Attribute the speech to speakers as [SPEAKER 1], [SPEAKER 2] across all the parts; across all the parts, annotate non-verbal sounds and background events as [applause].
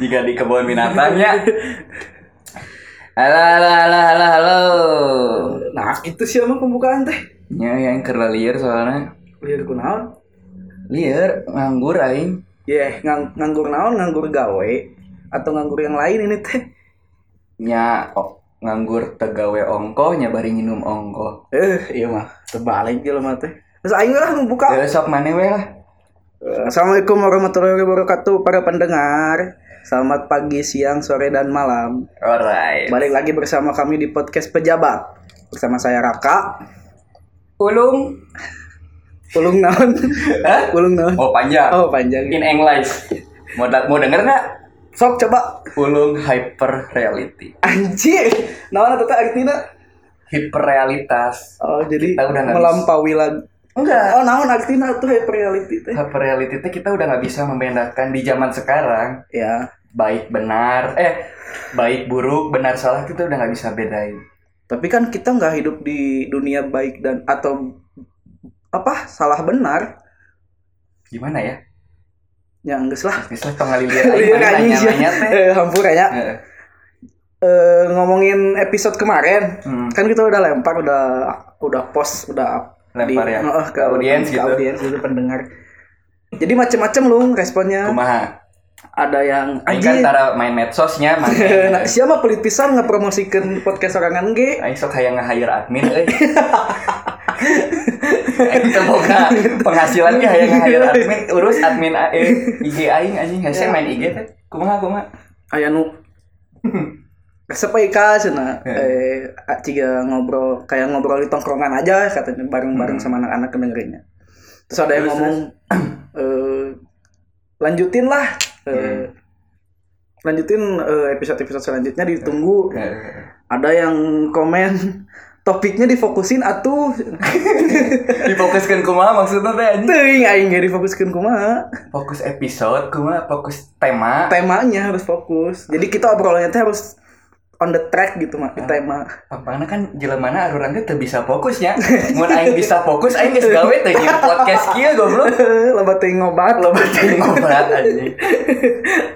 [SPEAKER 1] Jika di kebun binatang ya. Halo, halo, halo, halo, halo.
[SPEAKER 2] Nah, itu sih emang pembukaan teh. Iya,
[SPEAKER 1] Ya, yang kerla liar soalnya.
[SPEAKER 2] Lihat kunaon.
[SPEAKER 1] Liar, nganggur aing.
[SPEAKER 2] Ya, ngang- nganggur naon, nganggur gawe atau nganggur yang lain ini teh.
[SPEAKER 1] Nya oh, nganggur tegawe ongko nya bari nginum ongko.
[SPEAKER 2] Eh, iya mah, terbalik jelema teh. Terus aing lah membuka.
[SPEAKER 1] Ya sok maneh we lah.
[SPEAKER 2] Assalamualaikum warahmatullahi wabarakatuh para pendengar. Selamat pagi, siang, sore, dan malam.
[SPEAKER 1] Alright.
[SPEAKER 2] Balik lagi bersama kami di podcast pejabat. Bersama saya Raka.
[SPEAKER 1] Ulung.
[SPEAKER 2] Ulung
[SPEAKER 1] [laughs]
[SPEAKER 2] naon?
[SPEAKER 1] Hah?
[SPEAKER 2] Ulung naon?
[SPEAKER 1] Oh, panjang.
[SPEAKER 2] Oh panjang.
[SPEAKER 1] In English. Mau da- mau denger nggak?
[SPEAKER 2] Sok coba.
[SPEAKER 1] Ulung hyper reality.
[SPEAKER 2] Anjir. Naon eta teh artina?
[SPEAKER 1] Hiperrealitas.
[SPEAKER 2] Oh jadi
[SPEAKER 1] Kita udah nggak
[SPEAKER 2] melampaui lagi.
[SPEAKER 1] Enggak.
[SPEAKER 2] Oh naon artina tuh hyperreality teh?
[SPEAKER 1] Hyper reality teh kita udah nggak bisa membedakan di zaman sekarang
[SPEAKER 2] Ya.
[SPEAKER 1] baik benar eh baik buruk benar salah kita udah nggak bisa bedain
[SPEAKER 2] Tapi kan kita nggak hidup di dunia baik dan atau apa salah benar
[SPEAKER 1] gimana ya
[SPEAKER 2] ya enggak lah Iya,
[SPEAKER 1] misalnya pengalilian aing mana nanya-nanya iya, teh
[SPEAKER 2] Eh, hampur ya
[SPEAKER 1] Heeh.
[SPEAKER 2] Eh, ngomongin episode kemarin
[SPEAKER 1] Hmm.
[SPEAKER 2] kan kita udah lempar udah udah post udah
[SPEAKER 1] Lempar ya?
[SPEAKER 2] Heeh, ke
[SPEAKER 1] Ke audiens
[SPEAKER 2] ke
[SPEAKER 1] gitu.
[SPEAKER 2] audiens gitu pendengar jadi macem-macem lu responnya
[SPEAKER 1] kumaha
[SPEAKER 2] ada yang
[SPEAKER 1] aing kan
[SPEAKER 2] anjir
[SPEAKER 1] tara main medsosnya [laughs] mana
[SPEAKER 2] [laughs] nah, siapa pelit pisan ngepromosikan podcast orangan ge
[SPEAKER 1] aing sok hayang nge-hire admin [laughs] euy aing teu boga penghasilan ge hayang nge-hire admin urus admin A- eh, IG aing anjing hese main IG teh kumaha kumaha
[SPEAKER 2] aya nu resep we ka cenah
[SPEAKER 1] Iya.
[SPEAKER 2] eh ciga ngobrol kayak ngobrol di tongkrongan aja katanya bareng-bareng sama anak-anak dengerinnya terus ada yang
[SPEAKER 1] Hmm. Terus, Hmm.
[SPEAKER 2] ngomong [clears throat] eh, lanjutin lah eh, lanjutin eh, episode-episode selanjutnya
[SPEAKER 1] Hmm.
[SPEAKER 2] ditunggu
[SPEAKER 1] Heeh.
[SPEAKER 2] ada yang komen [laughs] topiknya difokusin atuh
[SPEAKER 1] [laughs]
[SPEAKER 2] [laughs]
[SPEAKER 1] difokuskan kumaha maksudnya teh anjing
[SPEAKER 2] teuing aing ge difokuskeun kumaha
[SPEAKER 1] fokus episode kumaha fokus tema
[SPEAKER 2] temanya harus fokus jadi kita obrolannya teh harus on the track gitu mah di
[SPEAKER 1] Hmm.
[SPEAKER 2] tema
[SPEAKER 1] Apana kan jelemana arurang teh teu bisa fokusnya mun aing bisa fokus aing geus gawe teh jeung podcast kieu goblok
[SPEAKER 2] [laughs] loba teh ngobat loba teh [laughs]
[SPEAKER 1] Aing ngobat anjing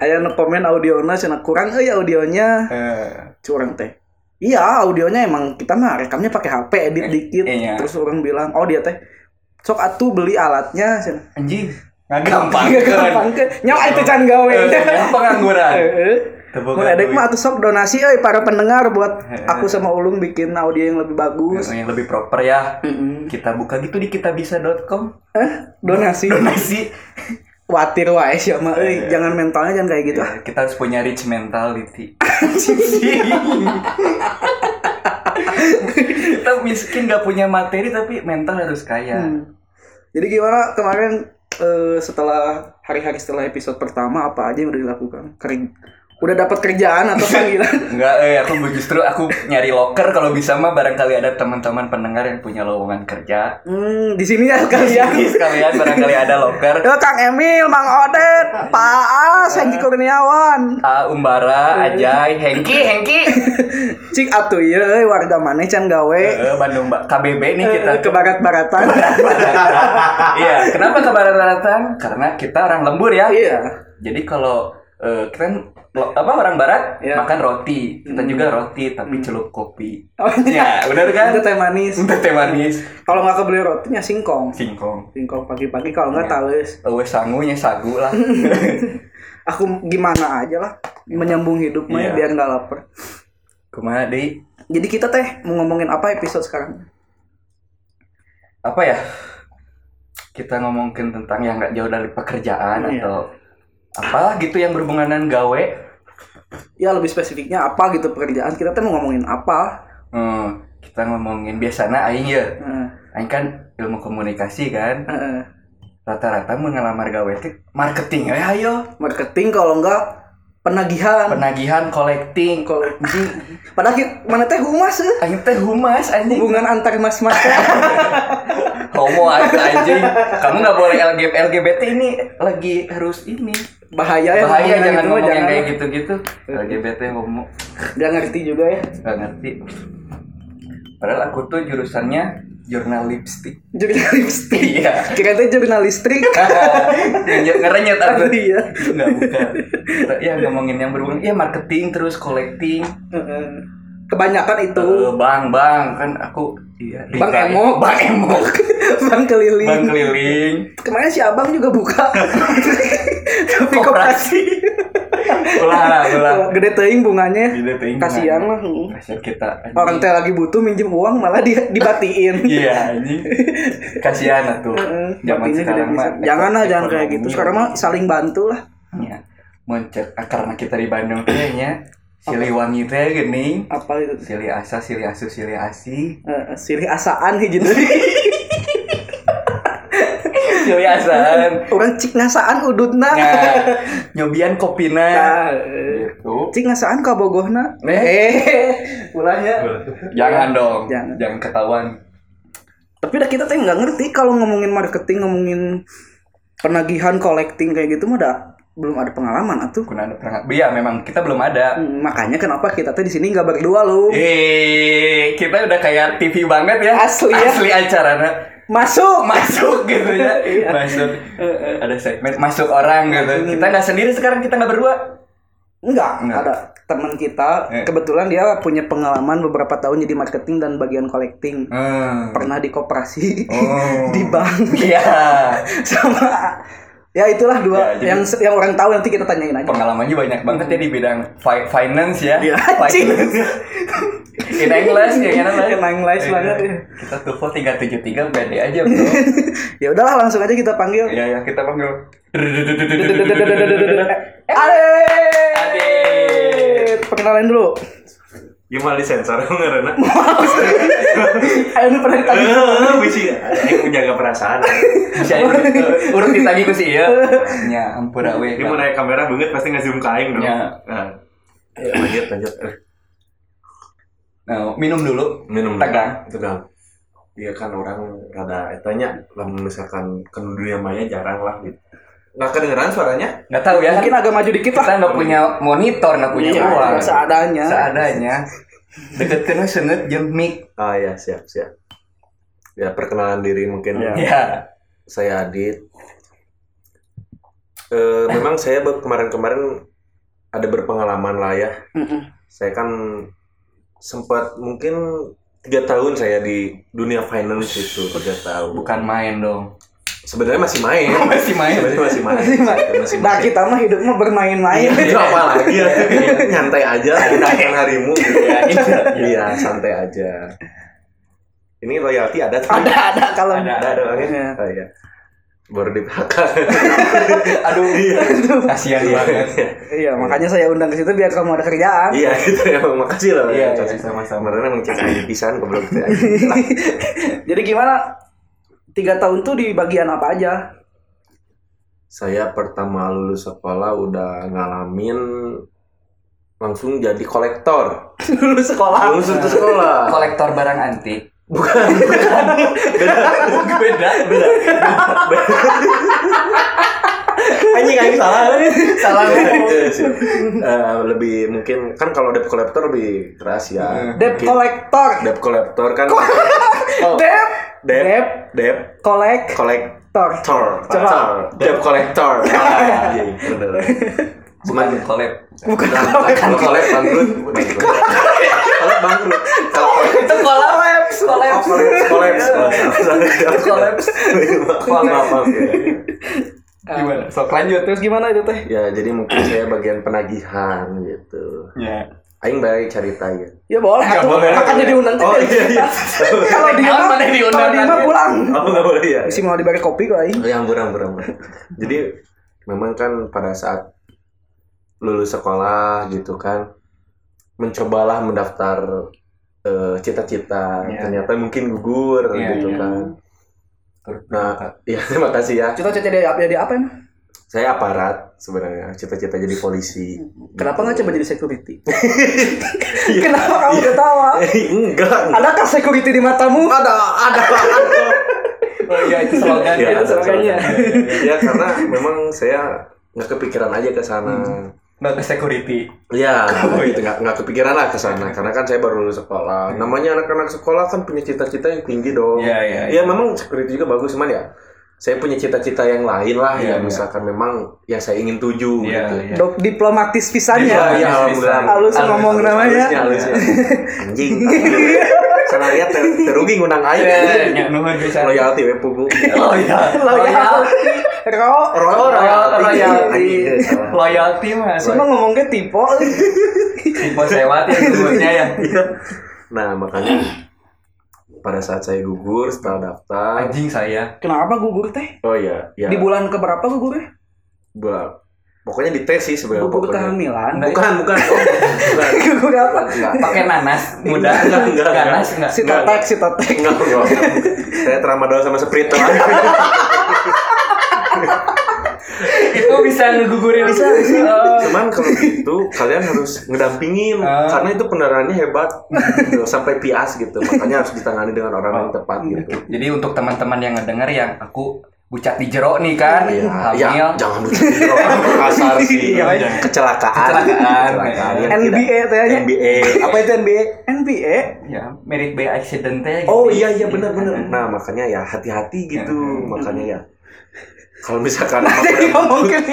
[SPEAKER 2] aya nu komen audiona cenah kurang euy audionya
[SPEAKER 1] Eh,
[SPEAKER 2] curang teh iya audionya emang kita mah rekamnya pakai HP
[SPEAKER 1] [laughs]
[SPEAKER 2] edit dikit
[SPEAKER 1] iya.
[SPEAKER 2] terus orang bilang oh dia teh sok atuh beli alatnya cenah
[SPEAKER 1] anjing gampang
[SPEAKER 2] [laughs] gampang ke nyawa itu can gawe
[SPEAKER 1] Eh,
[SPEAKER 2] [laughs]
[SPEAKER 1] pengangguran
[SPEAKER 2] Heeh. Mun
[SPEAKER 1] Teboga
[SPEAKER 2] edek
[SPEAKER 1] duit. Eh.
[SPEAKER 2] mah atuh sok donasi euy para pendengar buat
[SPEAKER 1] Heeh.
[SPEAKER 2] aku sama Ulung bikin audio yang lebih bagus.
[SPEAKER 1] yang lebih proper ya
[SPEAKER 2] Mm-mm.
[SPEAKER 1] kita buka gitu di kitabisa.com
[SPEAKER 2] Eh,
[SPEAKER 1] [laughs]
[SPEAKER 2] donasi
[SPEAKER 1] donasi
[SPEAKER 2] watir wae sia mah euy, jangan mentalnya jangan kayak gitu.
[SPEAKER 1] Eh, kita harus punya rich mentality kita miskin gak punya materi tapi mental harus kaya
[SPEAKER 2] Hmm. Jadi gimana kemarin eh, setelah hari-hari setelah episode pertama apa aja yang udah dilakukan? Kering. Udah dapat kerjaan [laughs] atau panggilan?
[SPEAKER 1] Enggak, eh aku justru aku nyari loker kalau bisa mah barangkali ada teman-teman pendengar yang punya lowongan kerja.
[SPEAKER 2] hmm, di sini ya sekalian.
[SPEAKER 1] Jadi sekalian barangkali ada loker.
[SPEAKER 2] Ya, Kang Emil, Mang Odet, Pak As, Hengki Kurniawan.
[SPEAKER 1] Ah, Umbara,
[SPEAKER 2] Eh.
[SPEAKER 1] Ajay, Hengki, Hengki.
[SPEAKER 2] Cik atuh ye warga mana can gawe
[SPEAKER 1] Eh, Bandung, Mbak. KBB nih kita.
[SPEAKER 2] eh, ke barat-baratan.
[SPEAKER 1] Iya, kenapa ke barat-baratan? Karena kita orang lembur ya.
[SPEAKER 2] [laughs] Iya.
[SPEAKER 1] Jadi kalau eh, kita kan lo- apa orang barat
[SPEAKER 2] Iya. Hmm.
[SPEAKER 1] makan roti, kita juga roti tapi celup
[SPEAKER 2] [laughs]
[SPEAKER 1] kopi.
[SPEAKER 2] Oh,
[SPEAKER 1] Ya, benar kan?
[SPEAKER 2] Itu teh manis.
[SPEAKER 1] Untuk teh manis,
[SPEAKER 2] Kalau nggak kebeli rotinya singkong.
[SPEAKER 1] singkong.
[SPEAKER 2] Singkong pagi-pagi kalau nggak talis.
[SPEAKER 1] Uwe sangunya sagu
[SPEAKER 2] [laughs]
[SPEAKER 1] lah.
[SPEAKER 2] Aku gimana aja lah menyambung hidup mah ya,
[SPEAKER 1] Iya.
[SPEAKER 2] biar nggak lapar.
[SPEAKER 1] Kumaha deui?
[SPEAKER 2] Jadi kita teh mau ngomongin apa episode sekarang?
[SPEAKER 1] apa ya kita ngomongin tentang yang nggak jauh dari pekerjaan
[SPEAKER 2] Iya.
[SPEAKER 1] atau apalah gitu yang berhubungan dengan gawe
[SPEAKER 2] Ya lebih spesifiknya apa gitu pekerjaan kita teh mau ngomongin apa?
[SPEAKER 1] Hmm, kita ngomongin biasanya aing ya
[SPEAKER 2] Heeh.
[SPEAKER 1] aing kan ilmu komunikasi kan
[SPEAKER 2] heeh.
[SPEAKER 1] rata-rata mau ngelamar gawe teh marketing ya ayo
[SPEAKER 2] marketing kalau enggak penagihan.
[SPEAKER 1] penagihan collecting
[SPEAKER 2] Kalau
[SPEAKER 1] anjing
[SPEAKER 2] padahal ki- mana teh humas eh.
[SPEAKER 1] aing teh humas anjing
[SPEAKER 2] hubungan antar mas-mas
[SPEAKER 1] [laughs]
[SPEAKER 2] teh.
[SPEAKER 1] homo atuh, anjing kamu nggak boleh LGBT LGBT ini lagi harus ini
[SPEAKER 2] bahaya ya.
[SPEAKER 1] bahaya
[SPEAKER 2] ngomongin gitu
[SPEAKER 1] jangan
[SPEAKER 2] mah,
[SPEAKER 1] ngomong yang
[SPEAKER 2] jangan.
[SPEAKER 1] kayak gitu-gitu LGBT homo
[SPEAKER 2] Nggak ngerti juga ya.
[SPEAKER 1] nggak ngerti padahal aku tuh jurusannya jurnal lipstick
[SPEAKER 2] jurnal lipstick
[SPEAKER 1] iya
[SPEAKER 2] kira itu jurnal
[SPEAKER 1] [laughs]
[SPEAKER 2] listrik
[SPEAKER 1] Ngerenyet- ngerenyet aku
[SPEAKER 2] Iya.
[SPEAKER 1] nggak bukan ya ngomongin yang berhubungan ya marketing terus collecting
[SPEAKER 2] Heeh. kebanyakan itu [laughs]
[SPEAKER 1] Eh, bang bang kan aku iya
[SPEAKER 2] Bang
[SPEAKER 1] Rika.
[SPEAKER 2] Emo.
[SPEAKER 1] bang emo
[SPEAKER 2] bang keliling
[SPEAKER 1] bang keliling
[SPEAKER 2] kemarin si abang juga
[SPEAKER 1] [laughs]
[SPEAKER 2] buka tapi
[SPEAKER 1] Koperasi.
[SPEAKER 2] koperasi
[SPEAKER 1] ulah ulah
[SPEAKER 2] gede teing bunganya
[SPEAKER 1] Gila, teuing.
[SPEAKER 2] kasihan lah heeh.
[SPEAKER 1] kasihan kita anjing.
[SPEAKER 2] orang teh lagi butuh minjem uang malah di- dibatiin
[SPEAKER 1] iya anjing kasihan lah tuh
[SPEAKER 2] Heeh,
[SPEAKER 1] zaman
[SPEAKER 2] batinya
[SPEAKER 1] sekarang
[SPEAKER 2] gede
[SPEAKER 1] mah
[SPEAKER 2] pisan. jangan lah jangan kayak
[SPEAKER 1] ekonomi.
[SPEAKER 2] gitu sekarang mah saling bantu lah
[SPEAKER 1] ya mencet ah, karena kita di Bandung kayaknya Siliwangi teh gini
[SPEAKER 2] apa itu
[SPEAKER 1] Sili Asa, Sili Asu, Sili Asi
[SPEAKER 2] Eh, silih asaan hiji deui.
[SPEAKER 1] [laughs] Sili Asan
[SPEAKER 2] orang cik ngasaan udutna
[SPEAKER 1] [laughs] Nah, nyobian kopina
[SPEAKER 2] [laughs] Nah, eh.
[SPEAKER 1] Gitu
[SPEAKER 2] cik ngasaan ka bogohna
[SPEAKER 1] Eh.
[SPEAKER 2] eh ulahnya
[SPEAKER 1] Jangan dong
[SPEAKER 2] Jangan.
[SPEAKER 1] Jangan ketahuan
[SPEAKER 2] tapi dah kita teh nggak ngerti kalau ngomongin marketing ngomongin penagihan collecting kayak gitu mah dah belum ada pengalaman atuh
[SPEAKER 1] Kuna ada perangkat Iya memang kita belum ada
[SPEAKER 2] Hmm, makanya kenapa kita teh di sini nggak berdua lu
[SPEAKER 1] Iya. Eh, kita udah kayak TV banget ya
[SPEAKER 2] Asli ya.
[SPEAKER 1] Asli acaranya
[SPEAKER 2] masuk
[SPEAKER 1] masuk gitu ya
[SPEAKER 2] [laughs] Iya.
[SPEAKER 1] masuk ada segmen masuk orang gitu kita nggak sendiri sekarang kita nggak berdua
[SPEAKER 2] Enggak,
[SPEAKER 1] Enggak.
[SPEAKER 2] ada teman kita
[SPEAKER 1] Eh.
[SPEAKER 2] kebetulan dia punya pengalaman beberapa tahun jadi marketing dan bagian collecting
[SPEAKER 1] hmm.
[SPEAKER 2] pernah di koperasi
[SPEAKER 1] Oh.
[SPEAKER 2] [laughs] di bank
[SPEAKER 1] iya
[SPEAKER 2] sama ya itulah dua
[SPEAKER 1] Ya, jadi-
[SPEAKER 2] yang yang orang tahu nanti kita tanyain aja
[SPEAKER 1] pengalamannya banyak banget ya di bidang fi- finance ya
[SPEAKER 2] Iya.
[SPEAKER 1] [laughs] finance in English ya kan lah
[SPEAKER 2] In English banget.
[SPEAKER 1] kita tuvo tiga tujuh tiga pede aja bro
[SPEAKER 2] ya udahlah langsung aja Iya, kita panggil
[SPEAKER 1] ya ya kita panggil Eh,
[SPEAKER 2] Ade Eh, perkenalan dulu
[SPEAKER 3] Gimana disensor [laughs] ngerana?
[SPEAKER 2] ayo lu pernah ditanya
[SPEAKER 3] Eh, bisi. Aing menjaga
[SPEAKER 1] [laughs]
[SPEAKER 3] perasaan.
[SPEAKER 1] bisa eh, urut ditagi ku sih ya ya ampun awe
[SPEAKER 3] Ini mau naik kamera banget pasti nggak zoom ke aing dong.
[SPEAKER 1] Ya.
[SPEAKER 3] Nah. Ya, lanjut lanjut. Eh,
[SPEAKER 1] Nah, minum dulu
[SPEAKER 3] Minum.
[SPEAKER 1] Tegang.
[SPEAKER 3] Tegang. Iya kan orang rada etanya lah misalkan ke dunia maya jarang lah gitu. Nggak kedengeran suaranya?
[SPEAKER 1] nggak tahu ya
[SPEAKER 2] mungkin agak maju dikit lah
[SPEAKER 1] kita nggak punya monitor nggak punya
[SPEAKER 2] Iya,
[SPEAKER 1] uang
[SPEAKER 2] seadanya.
[SPEAKER 1] seadanya deketin sengit jeung mic
[SPEAKER 3] Ah ya siap siap. Ya perkenalan diri mungkin.
[SPEAKER 2] Ya.
[SPEAKER 1] ya
[SPEAKER 3] Saya Adit. Eh, memang saya be- kemarin-kemarin ada berpengalaman lah ya
[SPEAKER 2] Mm-mm.
[SPEAKER 3] saya kan sempat mungkin tiga tahun saya di dunia finance itu tiga tahun
[SPEAKER 1] bukan main dong Eh,
[SPEAKER 3] sebenarnya masih main
[SPEAKER 1] [laughs] masih main
[SPEAKER 3] sebenarnya masih main masih Iya,
[SPEAKER 2] nah kita mah hidupnya bermain-main
[SPEAKER 3] itu apa lagi ya nyantai aja gunakan harimu gitu ya iya santai aja ini royalti ada tuh?
[SPEAKER 2] ada ada kalau
[SPEAKER 1] Ada.
[SPEAKER 3] ada ada orangnya?
[SPEAKER 2] Iya.
[SPEAKER 3] oh, iya baru di PHK
[SPEAKER 1] aduh kasihan banget
[SPEAKER 2] Iya, makanya saya undang ke situ biar kamu ada kerjaan.
[SPEAKER 3] iya itu emang makasih loh
[SPEAKER 1] Iya,
[SPEAKER 3] Cocok.
[SPEAKER 1] iya, sama-sama.
[SPEAKER 3] kemarin emang cek pisan kebetulan kita
[SPEAKER 2] Jadi gimana? Tiga tahun tuh di bagian apa aja? [laughs]
[SPEAKER 3] saya pertama lulus sekolah udah ngalamin langsung jadi kolektor
[SPEAKER 2] Dulu sekolah.
[SPEAKER 3] lulus untuk sekolah
[SPEAKER 1] kolektor barang antik
[SPEAKER 3] bukan bukan beda
[SPEAKER 1] beda
[SPEAKER 3] beda [laughs] anjing anjing salah kan?
[SPEAKER 1] salah ngomong.
[SPEAKER 3] [laughs] Eh, lebih mungkin kan kalau debt collector lebih keras ya
[SPEAKER 2] Debt
[SPEAKER 3] Mungkin
[SPEAKER 2] collector.
[SPEAKER 3] debt collector kan [laughs] Oh,
[SPEAKER 2] Debt.
[SPEAKER 3] debt debt
[SPEAKER 2] Collect.
[SPEAKER 3] collect
[SPEAKER 2] Collector.
[SPEAKER 3] Tor,
[SPEAKER 2] Coba.
[SPEAKER 3] Tor, debt [laughs] collector. Ah, iya, bener.
[SPEAKER 1] bukan
[SPEAKER 3] Cuman
[SPEAKER 1] kolek
[SPEAKER 2] Bukan
[SPEAKER 3] Kalau kalau kolab bangkrut, kolab bangkrut. Kalau
[SPEAKER 1] itu kolaps Oh, kolaps
[SPEAKER 3] kolab, kolab, [laughs] kolab, kolab, kolab,
[SPEAKER 1] gimana sok lanjut terus
[SPEAKER 2] Terus gimana itu teh?
[SPEAKER 3] Ya jadi mungkin saya bagian penagihan gitu.
[SPEAKER 1] ya
[SPEAKER 3] Aing balik cerita ya.
[SPEAKER 2] Ya boleh.
[SPEAKER 1] Nggak
[SPEAKER 2] atuh.
[SPEAKER 1] boleh.
[SPEAKER 2] Makanya diundang
[SPEAKER 1] kan
[SPEAKER 3] Oh
[SPEAKER 2] teh.
[SPEAKER 3] iya iya.
[SPEAKER 2] [laughs] Kalau dia
[SPEAKER 1] Kenapa
[SPEAKER 2] mah,
[SPEAKER 1] teh diundang
[SPEAKER 2] kalau dia mah
[SPEAKER 1] lagi?
[SPEAKER 2] pulang.
[SPEAKER 3] [laughs] Aku nggak boleh ya.
[SPEAKER 2] Masih mau dibagi kopi kok aing.
[SPEAKER 3] Oh, yang buram buram. Jadi memang kan pada saat lulus sekolah gitu kan mencobalah mendaftar eh, cita-cita
[SPEAKER 1] Iya.
[SPEAKER 3] ternyata mungkin gugur
[SPEAKER 1] Iya,
[SPEAKER 3] gitu
[SPEAKER 1] iya.
[SPEAKER 3] kan
[SPEAKER 1] Terus
[SPEAKER 3] nah iya [laughs] terima kasih ya
[SPEAKER 2] Cita-cita jadi apa? Jadi apa emang?
[SPEAKER 3] saya aparat sebenarnya cita-cita jadi
[SPEAKER 1] [laughs]
[SPEAKER 3] polisi
[SPEAKER 2] Kenapa nggak coba jadi security?
[SPEAKER 3] [laughs] Iya.
[SPEAKER 2] Kenapa kamu ketawa?
[SPEAKER 1] Oh.
[SPEAKER 3] Eh, enggak
[SPEAKER 2] Adakah security di matamu?
[SPEAKER 3] ada ada ada
[SPEAKER 1] oh iya itu slogan
[SPEAKER 3] ya,
[SPEAKER 1] itu [laughs]
[SPEAKER 3] ada, Iya,
[SPEAKER 1] slogannya
[SPEAKER 3] ada. ya karena memang saya nggak kepikiran aja ke sana
[SPEAKER 1] nggak ke security
[SPEAKER 3] Ya,
[SPEAKER 1] Hmm. [laughs] Oh, iya. Hmm.
[SPEAKER 3] gitu nggak nggak kepikiran lah ke sana karena kan saya baru lulus sekolah. Namanya anak-anak sekolah kan punya cita-cita yang tinggi dong.
[SPEAKER 1] Iya, iya,
[SPEAKER 3] Ya
[SPEAKER 1] iya.
[SPEAKER 3] memang security juga bagus cuman ya saya punya cita-cita yang lain lah
[SPEAKER 1] Iya, iya.
[SPEAKER 3] yang misalkan memang yang saya ingin tuju
[SPEAKER 1] Iya,
[SPEAKER 3] gitu.
[SPEAKER 1] iya.
[SPEAKER 2] Dok diplomatis pisannya.
[SPEAKER 3] Iya, iya,
[SPEAKER 1] Bisa.
[SPEAKER 3] alhamdulillah.
[SPEAKER 2] Halus ngomong namanya.
[SPEAKER 3] Halusnya, halusnya.
[SPEAKER 2] [laughs]
[SPEAKER 3] Anjing. Salah lihat ter terugi ngundang aing.
[SPEAKER 1] ya nuhun bisa
[SPEAKER 3] Loyalty we pugu.
[SPEAKER 1] loyal
[SPEAKER 3] Oh,
[SPEAKER 1] iya,
[SPEAKER 2] Loyal.
[SPEAKER 3] iya.
[SPEAKER 2] Ro.
[SPEAKER 3] Royal,
[SPEAKER 1] loyalty
[SPEAKER 3] Anjing, salah.
[SPEAKER 1] loyalty mas
[SPEAKER 2] Cuma ngomongnya tipe.
[SPEAKER 1] tipe sewat [laughs] ya sebutnya ya
[SPEAKER 3] Nah, makanya pada saat saya gugur setelah daftar
[SPEAKER 1] anjing saya
[SPEAKER 2] Kenapa gugur teh?
[SPEAKER 3] Oh iya, ya.
[SPEAKER 2] Di bulan keberapa gugurnya?
[SPEAKER 3] Bulan. Pokoknya di tes sih
[SPEAKER 2] ya?
[SPEAKER 3] sebenarnya.
[SPEAKER 2] Gugur
[SPEAKER 3] pokoknya.
[SPEAKER 2] kehamilan.
[SPEAKER 3] Bukan, bukan. Oh, bukan.
[SPEAKER 2] [laughs] Gugur [laughs] apa?
[SPEAKER 3] Enggak.
[SPEAKER 1] pakai nanas Iya. muda
[SPEAKER 3] Enggak, enggak, enggak.
[SPEAKER 1] nanas enggak
[SPEAKER 2] Si
[SPEAKER 3] Enggak.
[SPEAKER 2] tetek, si tetek.
[SPEAKER 3] Enggak, enggak. Saya tramadol sama Sprite doang.
[SPEAKER 1] itu bisa ngegugurin bisa
[SPEAKER 3] Cuman kalau gitu kalian harus ngedampingin
[SPEAKER 1] Ah.
[SPEAKER 3] karena itu pendarahannya hebat gitu, sampai pias gitu. Makanya harus ditangani dengan orang yang tepat
[SPEAKER 1] Oh.
[SPEAKER 3] gitu.
[SPEAKER 1] jadi untuk teman-teman yang ngedenger yang aku bucat di jero nih kan
[SPEAKER 3] Ya, ya,
[SPEAKER 1] hamil
[SPEAKER 3] jangan berpikir orang
[SPEAKER 1] [laughs]
[SPEAKER 3] kasar sih.
[SPEAKER 1] Iya, iya.
[SPEAKER 3] Kecelakaan.
[SPEAKER 1] Kecelakaan.
[SPEAKER 3] yang
[SPEAKER 2] NBA
[SPEAKER 3] tidak-
[SPEAKER 2] tanya.
[SPEAKER 3] NBA. E. Apa itu E? NBA?
[SPEAKER 2] NBA.
[SPEAKER 1] ya merit by accident aja gitu.
[SPEAKER 3] Oh iya iya benar-benar. Nah makanya ya hati-hati gitu.
[SPEAKER 1] Iya.
[SPEAKER 3] Makanya ya kalau misalkan
[SPEAKER 2] [laughs] Jadi ngomongin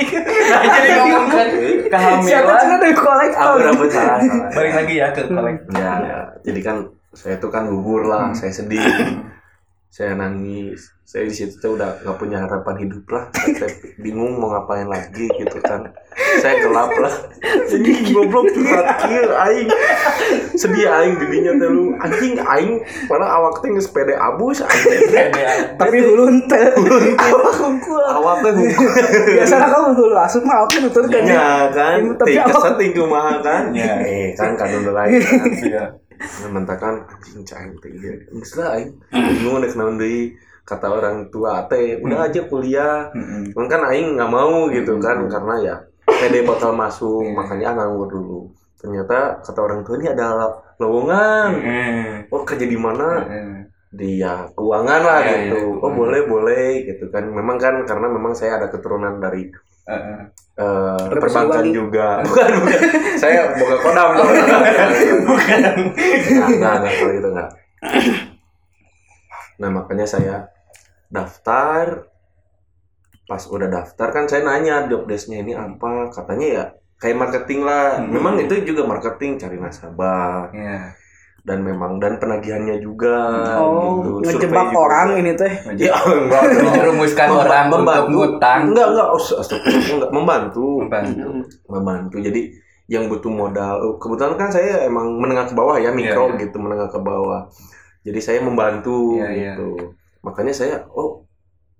[SPEAKER 1] Nah, [laughs] jadi ngomong
[SPEAKER 3] [laughs]
[SPEAKER 1] ke
[SPEAKER 2] [laughs] siapa
[SPEAKER 1] kehamilan
[SPEAKER 2] sih dari kolektor?
[SPEAKER 3] aku dapat salah. salah.
[SPEAKER 1] balik lagi ya ke
[SPEAKER 3] [laughs]
[SPEAKER 1] kolek
[SPEAKER 2] Iya.
[SPEAKER 3] Ya, ya. jadi kan saya itu kan gugur
[SPEAKER 2] Hmm.
[SPEAKER 3] lah, saya
[SPEAKER 2] [laughs]
[SPEAKER 3] sedih, saya nangis, saya di situ tuh udah nggak punya harapan hidup lah, saya bingung mau ngapain lagi gitu kan, saya gelap
[SPEAKER 2] [laughs]
[SPEAKER 3] lah, sedih
[SPEAKER 2] gitu.
[SPEAKER 3] goblok terakhir aing, sedih aing dirinya tuh lu anjing aing, padahal awak teh nggak sepede abus anjing,
[SPEAKER 2] Tapi hulu ente. [laughs] Awak hungkul.
[SPEAKER 3] awak teh hukum.
[SPEAKER 2] Biasanya kamu hulu asup mah aku nuturkan ya.
[SPEAKER 3] Ya kan,
[SPEAKER 2] Tapi
[SPEAKER 3] tiga
[SPEAKER 2] awak-
[SPEAKER 3] setting kumaha kan,
[SPEAKER 1] Ya.
[SPEAKER 3] eh kan kadung lain. kan.
[SPEAKER 1] Iya.
[SPEAKER 3] mementakan anjing cair teh ieu. Geus lah aing bingung dek naon deui kata orang tua teh
[SPEAKER 1] Hmm.
[SPEAKER 3] udah aja kuliah.
[SPEAKER 1] Mm-mm.
[SPEAKER 3] Cuman kan aing nggak mau gitu kan karena ya pede bakal masuk
[SPEAKER 1] Hmm. Iya.
[SPEAKER 3] makanya ah nganggur dulu. Ternyata kata orang tua ini ada lap- lowongan.
[SPEAKER 1] Mm-mm.
[SPEAKER 3] Oh kerja di mana?
[SPEAKER 1] Mm-mm.
[SPEAKER 3] Di ya keuangan lah
[SPEAKER 1] Iya,
[SPEAKER 3] gitu.
[SPEAKER 1] iya,
[SPEAKER 3] Oh
[SPEAKER 1] keuangan.
[SPEAKER 3] boleh boleh gitu kan. Memang kan karena memang saya ada keturunan dari
[SPEAKER 1] Uh-uh.
[SPEAKER 3] eh, perbankan
[SPEAKER 2] Perseroan.
[SPEAKER 3] juga. [laughs] Bukan bukan. saya boga kodam.
[SPEAKER 1] Oh, iya.
[SPEAKER 3] [laughs]
[SPEAKER 1] bukan
[SPEAKER 3] Nah, enggak, enggak, kalau gitu enggak. Nah, makanya saya daftar. Pas udah daftar kan saya nanya job desk-nya ini apa. Katanya ya kayak marketing lah.
[SPEAKER 1] Hmm.
[SPEAKER 3] Memang itu juga marketing, cari nasabah
[SPEAKER 1] ya
[SPEAKER 3] dan memang dan penagihannya juga
[SPEAKER 2] Oh,
[SPEAKER 3] gitu. Survei
[SPEAKER 2] ngejebak
[SPEAKER 3] juga.
[SPEAKER 2] orang ini teh.
[SPEAKER 3] Ya, enggak. dong.
[SPEAKER 1] menjerumuskan
[SPEAKER 3] Memba-
[SPEAKER 1] orang untuk
[SPEAKER 3] membantu.
[SPEAKER 1] ngutang Iya,
[SPEAKER 3] Enggak, enggak. Oh, astagfirullah, enggak membantu
[SPEAKER 1] Membantu.
[SPEAKER 3] membantu jadi yang butuh modal kebetulan kan saya emang menengah ke bawah ya mikro
[SPEAKER 1] Iya, iya.
[SPEAKER 3] gitu menengah ke bawah jadi saya membantu
[SPEAKER 1] Iya, iya.
[SPEAKER 3] gitu makanya saya oh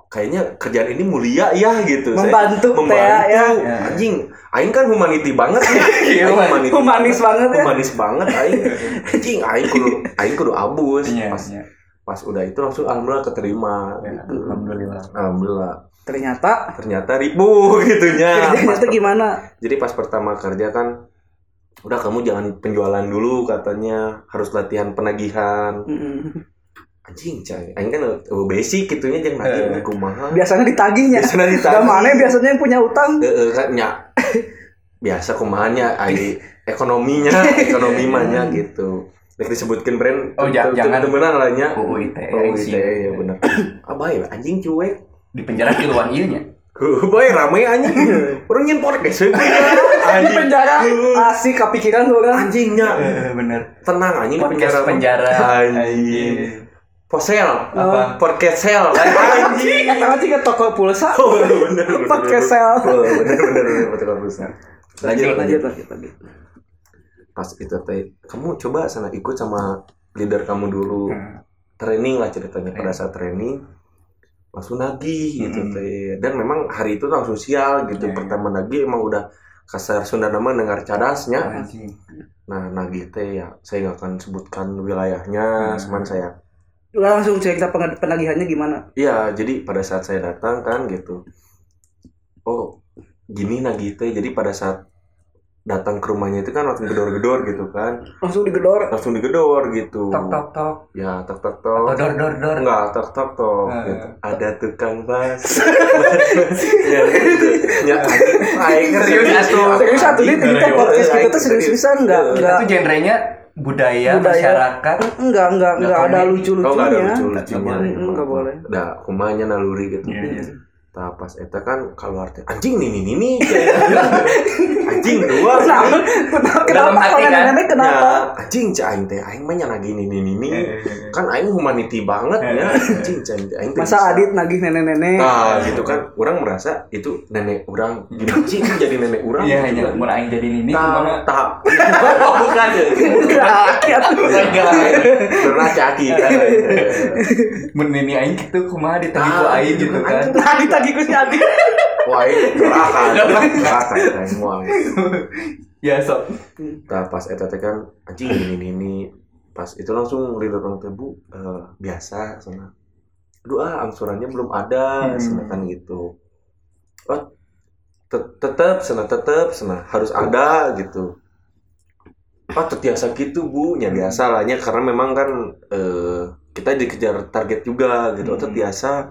[SPEAKER 3] kayaknya kerjaan ini mulia ya gitu saya
[SPEAKER 2] Membantu teh
[SPEAKER 3] membantu
[SPEAKER 2] ya.
[SPEAKER 1] Iya.
[SPEAKER 3] anjing aing kan humanity banget nih.
[SPEAKER 1] [laughs] Iya,
[SPEAKER 3] Aing
[SPEAKER 1] Wan.
[SPEAKER 3] humanity
[SPEAKER 2] Humanis banget ya.
[SPEAKER 3] humanis banget aing anjing aing kudu aing kudu abus
[SPEAKER 1] Iya,
[SPEAKER 3] pas
[SPEAKER 1] iya.
[SPEAKER 3] pas udah itu langsung alhamdulillah keterima
[SPEAKER 1] Ya,
[SPEAKER 3] gitu.
[SPEAKER 1] alhamdulillah
[SPEAKER 3] alhamdulillah
[SPEAKER 2] Ternyata
[SPEAKER 3] ternyata ribu [laughs] gitunya
[SPEAKER 2] ternyata gimana?
[SPEAKER 3] jadi pas pertama kerja kan udah kamu jangan penjualan dulu katanya harus latihan penagihan
[SPEAKER 2] Mm-mm.
[SPEAKER 3] anjing cai anjing kan oh, basic gitunya jangan latihan
[SPEAKER 1] Eh.
[SPEAKER 3] eh. kumaha
[SPEAKER 2] Biasanya ditagihnya.
[SPEAKER 3] biasanya
[SPEAKER 2] ya. Gak
[SPEAKER 3] ditanya
[SPEAKER 2] mana biasanya yang punya utang.
[SPEAKER 3] Eh, eh, kan nya biasa kumahanya ai ekonominya ekonomi mahnya gitu Dek disebutkan brand
[SPEAKER 1] Oh, ja- jangan.
[SPEAKER 3] temenan lah nya
[SPEAKER 1] UU ITE,
[SPEAKER 3] oh
[SPEAKER 1] sih.
[SPEAKER 3] ITE ya benar abai anjing [laughs] cuek
[SPEAKER 1] di penjara di luar ieu nya
[SPEAKER 3] Heuh, Oh, Boy rame anjing. Orang nyen podcast. we.
[SPEAKER 2] Di
[SPEAKER 3] Anjing.
[SPEAKER 2] Eh, penjara
[SPEAKER 3] Heuh.
[SPEAKER 2] asik kepikiran orang.
[SPEAKER 3] Anjingnya.
[SPEAKER 1] Eh. bener
[SPEAKER 3] tenang anjing di
[SPEAKER 1] podcast penjara Ah.
[SPEAKER 3] anjing posel
[SPEAKER 1] Apa?
[SPEAKER 3] podcast sel anjing
[SPEAKER 2] Kata Eh, sih ke toko pulsa.
[SPEAKER 3] Oh, bener, bener,
[SPEAKER 2] Podcast
[SPEAKER 3] bener.
[SPEAKER 2] sel.
[SPEAKER 3] Oh, bener bener bener podcast pulsa. lanjut lanjut
[SPEAKER 2] Lanjut lanjut lanjut.
[SPEAKER 3] pas itu teh kamu coba sana ikut sama leader kamu dulu
[SPEAKER 1] Hmm.
[SPEAKER 3] training lah ceritanya pada saat training langsung nagih gitu
[SPEAKER 1] Mm-mm.
[SPEAKER 3] teh dan memang hari itu langsung sial gitu
[SPEAKER 1] Iya, iya.
[SPEAKER 3] pertama nagih emang udah kasar Sunda nama dengar cadasnya
[SPEAKER 1] anjing
[SPEAKER 3] nah nagih teh ya saya nggak akan sebutkan
[SPEAKER 1] Hmm.
[SPEAKER 3] wilayahnya cuman saya
[SPEAKER 2] Udah langsung cerita peng- penagihannya gimana?
[SPEAKER 3] Iya, jadi pada saat saya datang kan gitu. Oh, gini nagih teh. Jadi pada saat datang ke rumahnya itu kan langsung gedor-gedor gitu kan
[SPEAKER 2] langsung digedor
[SPEAKER 3] langsung digedor gitu
[SPEAKER 1] tok tok tok
[SPEAKER 3] ya tok tok
[SPEAKER 1] atau
[SPEAKER 3] tok
[SPEAKER 1] dor dor dor
[SPEAKER 3] enggak tok tok tok
[SPEAKER 1] Nah.
[SPEAKER 3] gitu. ada tukang bas ya gitu. ya aing
[SPEAKER 1] Serius satu.
[SPEAKER 2] serius satu ini
[SPEAKER 3] Iya,
[SPEAKER 2] kita podcast kita tuh serius seriusan nggak nggak
[SPEAKER 1] itu genrenya budaya,
[SPEAKER 2] Budaya.
[SPEAKER 1] masyarakat
[SPEAKER 2] nggak nggak nggak ada
[SPEAKER 1] komedi.
[SPEAKER 2] lucu
[SPEAKER 3] Kau nggak ada
[SPEAKER 2] lucunya
[SPEAKER 3] lucu lucunya
[SPEAKER 2] boleh, nggak boleh.
[SPEAKER 3] Nah, kumanya naluri gitu
[SPEAKER 1] Iya, iya.
[SPEAKER 3] Nah, pas eta kan kalau arti anjing nih nih nih, nih gitu ya.
[SPEAKER 2] [laughs]
[SPEAKER 3] anjing dua
[SPEAKER 2] kenapa kenapa
[SPEAKER 1] Dalam
[SPEAKER 2] kenapa
[SPEAKER 1] hati,
[SPEAKER 2] kalau
[SPEAKER 1] kan?
[SPEAKER 2] nenek kenapa
[SPEAKER 3] Ya, anjing cah aing teh aing mah nyana gini nih nih
[SPEAKER 1] Iya,
[SPEAKER 3] nih. kan aing humanity banget ya anjing cah aing teh aing teh
[SPEAKER 2] masa
[SPEAKER 3] bisa.
[SPEAKER 2] adit nagih nenek nenek
[SPEAKER 3] Iya. nah gitu kan orang merasa itu nenek orang gimana sih itu jadi nenek orang
[SPEAKER 1] iya
[SPEAKER 3] gitu
[SPEAKER 1] hanya
[SPEAKER 3] kan.
[SPEAKER 1] mau aing jadi ini Iya.
[SPEAKER 3] Nah,
[SPEAKER 1] gimana
[SPEAKER 3] tahap [laughs] oh, bukan ya
[SPEAKER 1] Iya,
[SPEAKER 3] pernah caki kan
[SPEAKER 1] menini aing gitu kumaha di tepi ku aing gitu kan
[SPEAKER 2] tadi tadi gue si adit
[SPEAKER 3] wah ini neraka neraka kita semua
[SPEAKER 1] ya sok
[SPEAKER 3] Nah, pas eta teh kan anjing ini ini, ini. Pas itu langsung lirik orang teh bu eh, biasa sana. Aduh ah angsurannya belum
[SPEAKER 1] Hmm.
[SPEAKER 3] ada sana kan gitu. Oh, te- tetep sana tetep sana harus ada gitu. Oh, terbiasa gitu bu, ya biasa lah nya karena memang kan eh, kita dikejar target juga gitu. Oh,
[SPEAKER 1] Hmm.
[SPEAKER 3] terbiasa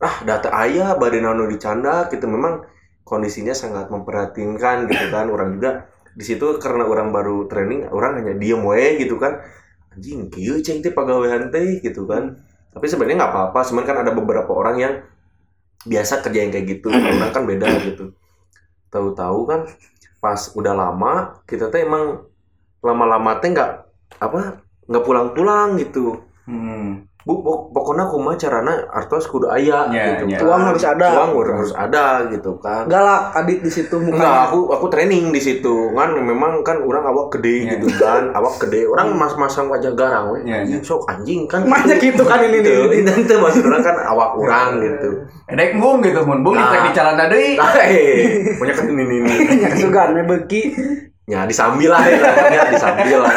[SPEAKER 3] ah data ayah badai nano dicanda gitu memang kondisinya sangat memperhatinkan gitu kan orang juga di situ karena orang baru training orang hanya diem we gitu kan anjing kieu ceng teh pagawean teh gitu kan tapi sebenarnya nggak apa-apa cuman kan ada beberapa orang yang biasa kerja yang kayak gitu orang kan beda gitu tahu-tahu kan pas udah lama kita teh emang lama-lama teh nggak apa nggak pulang-pulang gitu
[SPEAKER 1] hmm.
[SPEAKER 3] bu pok- pokoknya kumaha carana artos kudu aya
[SPEAKER 1] Ya,
[SPEAKER 3] gitu
[SPEAKER 1] ya.
[SPEAKER 3] kan.
[SPEAKER 2] Uang harus ada.
[SPEAKER 3] uang harus harus ada gitu kan
[SPEAKER 2] galak adit di situ
[SPEAKER 3] Enggak,
[SPEAKER 2] mukanya
[SPEAKER 3] aku aku training di situ. Kan memang kan orang awak gede
[SPEAKER 1] Iya.
[SPEAKER 3] gitu kan, awak gede. Orang mas-masang wajah garang we.
[SPEAKER 1] Iya,
[SPEAKER 3] Anjing sok anjing kan.
[SPEAKER 2] Hmm. Makanya gitu kan ini Ya. nih.
[SPEAKER 3] Tuh, Ini teh maksud orang kan awak orang
[SPEAKER 2] [laughs]
[SPEAKER 3] gitu.
[SPEAKER 1] Edek bung gitu mun bung
[SPEAKER 3] Nah.
[SPEAKER 1] dicek di celana deui.
[SPEAKER 3] Tah, eh, punya kan ini ini. ini.
[SPEAKER 2] banyak kesukaan beki
[SPEAKER 3] Ya disambil lah ya, ya disambil
[SPEAKER 2] [laughs]
[SPEAKER 3] lah.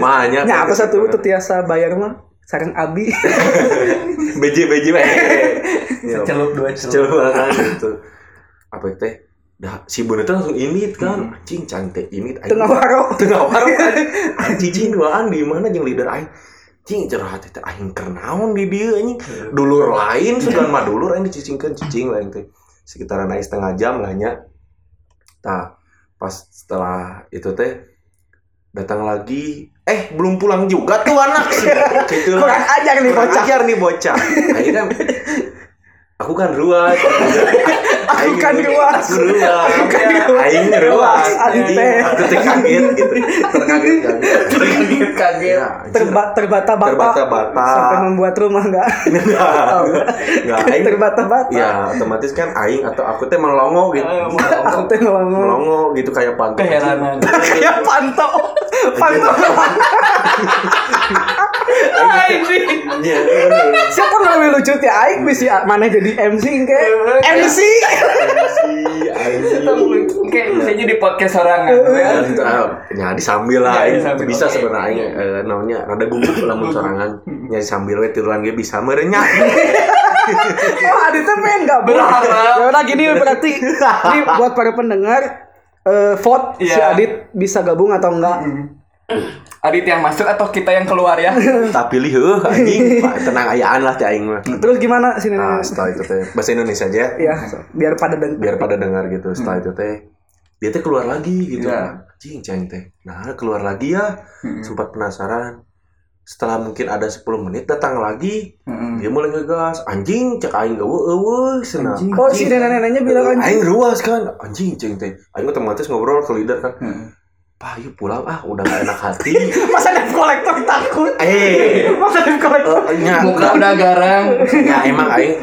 [SPEAKER 3] Mahanya.
[SPEAKER 2] nya apa Nah, satu itu tiasa bayar mah sarang abi [laughs]
[SPEAKER 3] BJ BJ. eh, eh. Ya,
[SPEAKER 1] Secelup dua celup.
[SPEAKER 3] Coba kan gitu. Apa itu teh? Dah si Bonet langsung ini kan, anjing cantik ini.
[SPEAKER 2] tengah waro
[SPEAKER 3] [laughs] tengah warung aing. anjing cing duaan di mana jeung leader aing cing cerah hati teh aing keur naon di dieu anjing dulur lain sudah mah dulur aing dicicingkeun cicing lah aing teh sekitaran aing setengah jam lah nya tah pas setelah itu teh datang lagi eh belum pulang juga tuh anak
[SPEAKER 2] [laughs]
[SPEAKER 3] gitu
[SPEAKER 2] kurang ajar nih
[SPEAKER 3] Kurang
[SPEAKER 2] bocah
[SPEAKER 3] ajar nih bocah aing kan aku kan ruas
[SPEAKER 2] aku kan ruas
[SPEAKER 3] aku ruas
[SPEAKER 2] kan ruas.
[SPEAKER 3] aing ruas
[SPEAKER 2] Aing teh.
[SPEAKER 3] aku teh kaget gitu terkaget terkaget [laughs] kaget
[SPEAKER 1] Iya.
[SPEAKER 2] Terba- terbata-bata
[SPEAKER 3] Terbata-bata.
[SPEAKER 2] sampai membuat rumah enggak
[SPEAKER 3] nggak aing
[SPEAKER 2] [laughs] terbata-bata
[SPEAKER 3] Nah, ya otomatis kan aing atau aku teh melongo gitu
[SPEAKER 1] Eh,
[SPEAKER 2] aku teh ngomong
[SPEAKER 3] melongo gitu kayak pantai
[SPEAKER 1] Keheranan.
[SPEAKER 2] kayak
[SPEAKER 3] [laughs]
[SPEAKER 2] panto panto Anjing.
[SPEAKER 3] Iya, bener.
[SPEAKER 2] siapa yang lebih lucu ti aing bisi mana jadi MC engke
[SPEAKER 3] [laughs]
[SPEAKER 2] MC
[SPEAKER 3] Si aing
[SPEAKER 1] Kayak bisa jadi podcast sorangan.
[SPEAKER 3] Ya, gitu, ah, ya disambil
[SPEAKER 1] Ya,
[SPEAKER 3] lah aing
[SPEAKER 1] disambil,
[SPEAKER 3] bisa
[SPEAKER 1] oke.
[SPEAKER 3] sebenarnya aing eh, naonnya rada gugup lamun
[SPEAKER 1] [laughs]
[SPEAKER 3] sorangan nya sambil we tiruan ge bisa merenya
[SPEAKER 2] oh ada temen nggak
[SPEAKER 1] Berharap.
[SPEAKER 2] Ya udah gini berarti
[SPEAKER 3] [laughs]
[SPEAKER 2] ini buat para pendengar eh, vote si
[SPEAKER 1] Iya.
[SPEAKER 2] Adit bisa gabung atau enggak
[SPEAKER 1] Hmm. Adit yang masuk atau kita yang keluar ya?
[SPEAKER 3] tak pilih heuh anjing Pak, tenang ayaan lah teh aing mah
[SPEAKER 2] terus gimana sini
[SPEAKER 3] Hmm. nah setelah itu teh bahasa Indonesia aja
[SPEAKER 2] ya biar pada deng
[SPEAKER 3] Iya, biar pada dengar gitu setelah itu teh dia teh keluar lagi gitu
[SPEAKER 1] Hmm. Iya. Hmm.
[SPEAKER 3] anjing ceng teh nah keluar lagi ya sempat penasaran setelah mungkin ada 10 menit datang lagi
[SPEAKER 1] Mm-mm.
[SPEAKER 3] dia mulai ngegas anjing cek aing eueuh eueuh cenah.
[SPEAKER 1] Anjing.
[SPEAKER 2] oh si nenek-neneknya
[SPEAKER 1] Iya
[SPEAKER 2] bilang kan
[SPEAKER 3] Aing ruas kan, anjing ceng teh. Aing otomatis ngobrol ke leader kan,
[SPEAKER 1] Hmm.
[SPEAKER 3] pak yuk pulang ah udah gak enak hati.
[SPEAKER 2] masa debt collector takut
[SPEAKER 3] eh,
[SPEAKER 2] masa debt collector
[SPEAKER 3] eh, nya,
[SPEAKER 1] Muka udah garang.
[SPEAKER 3] ya emang aing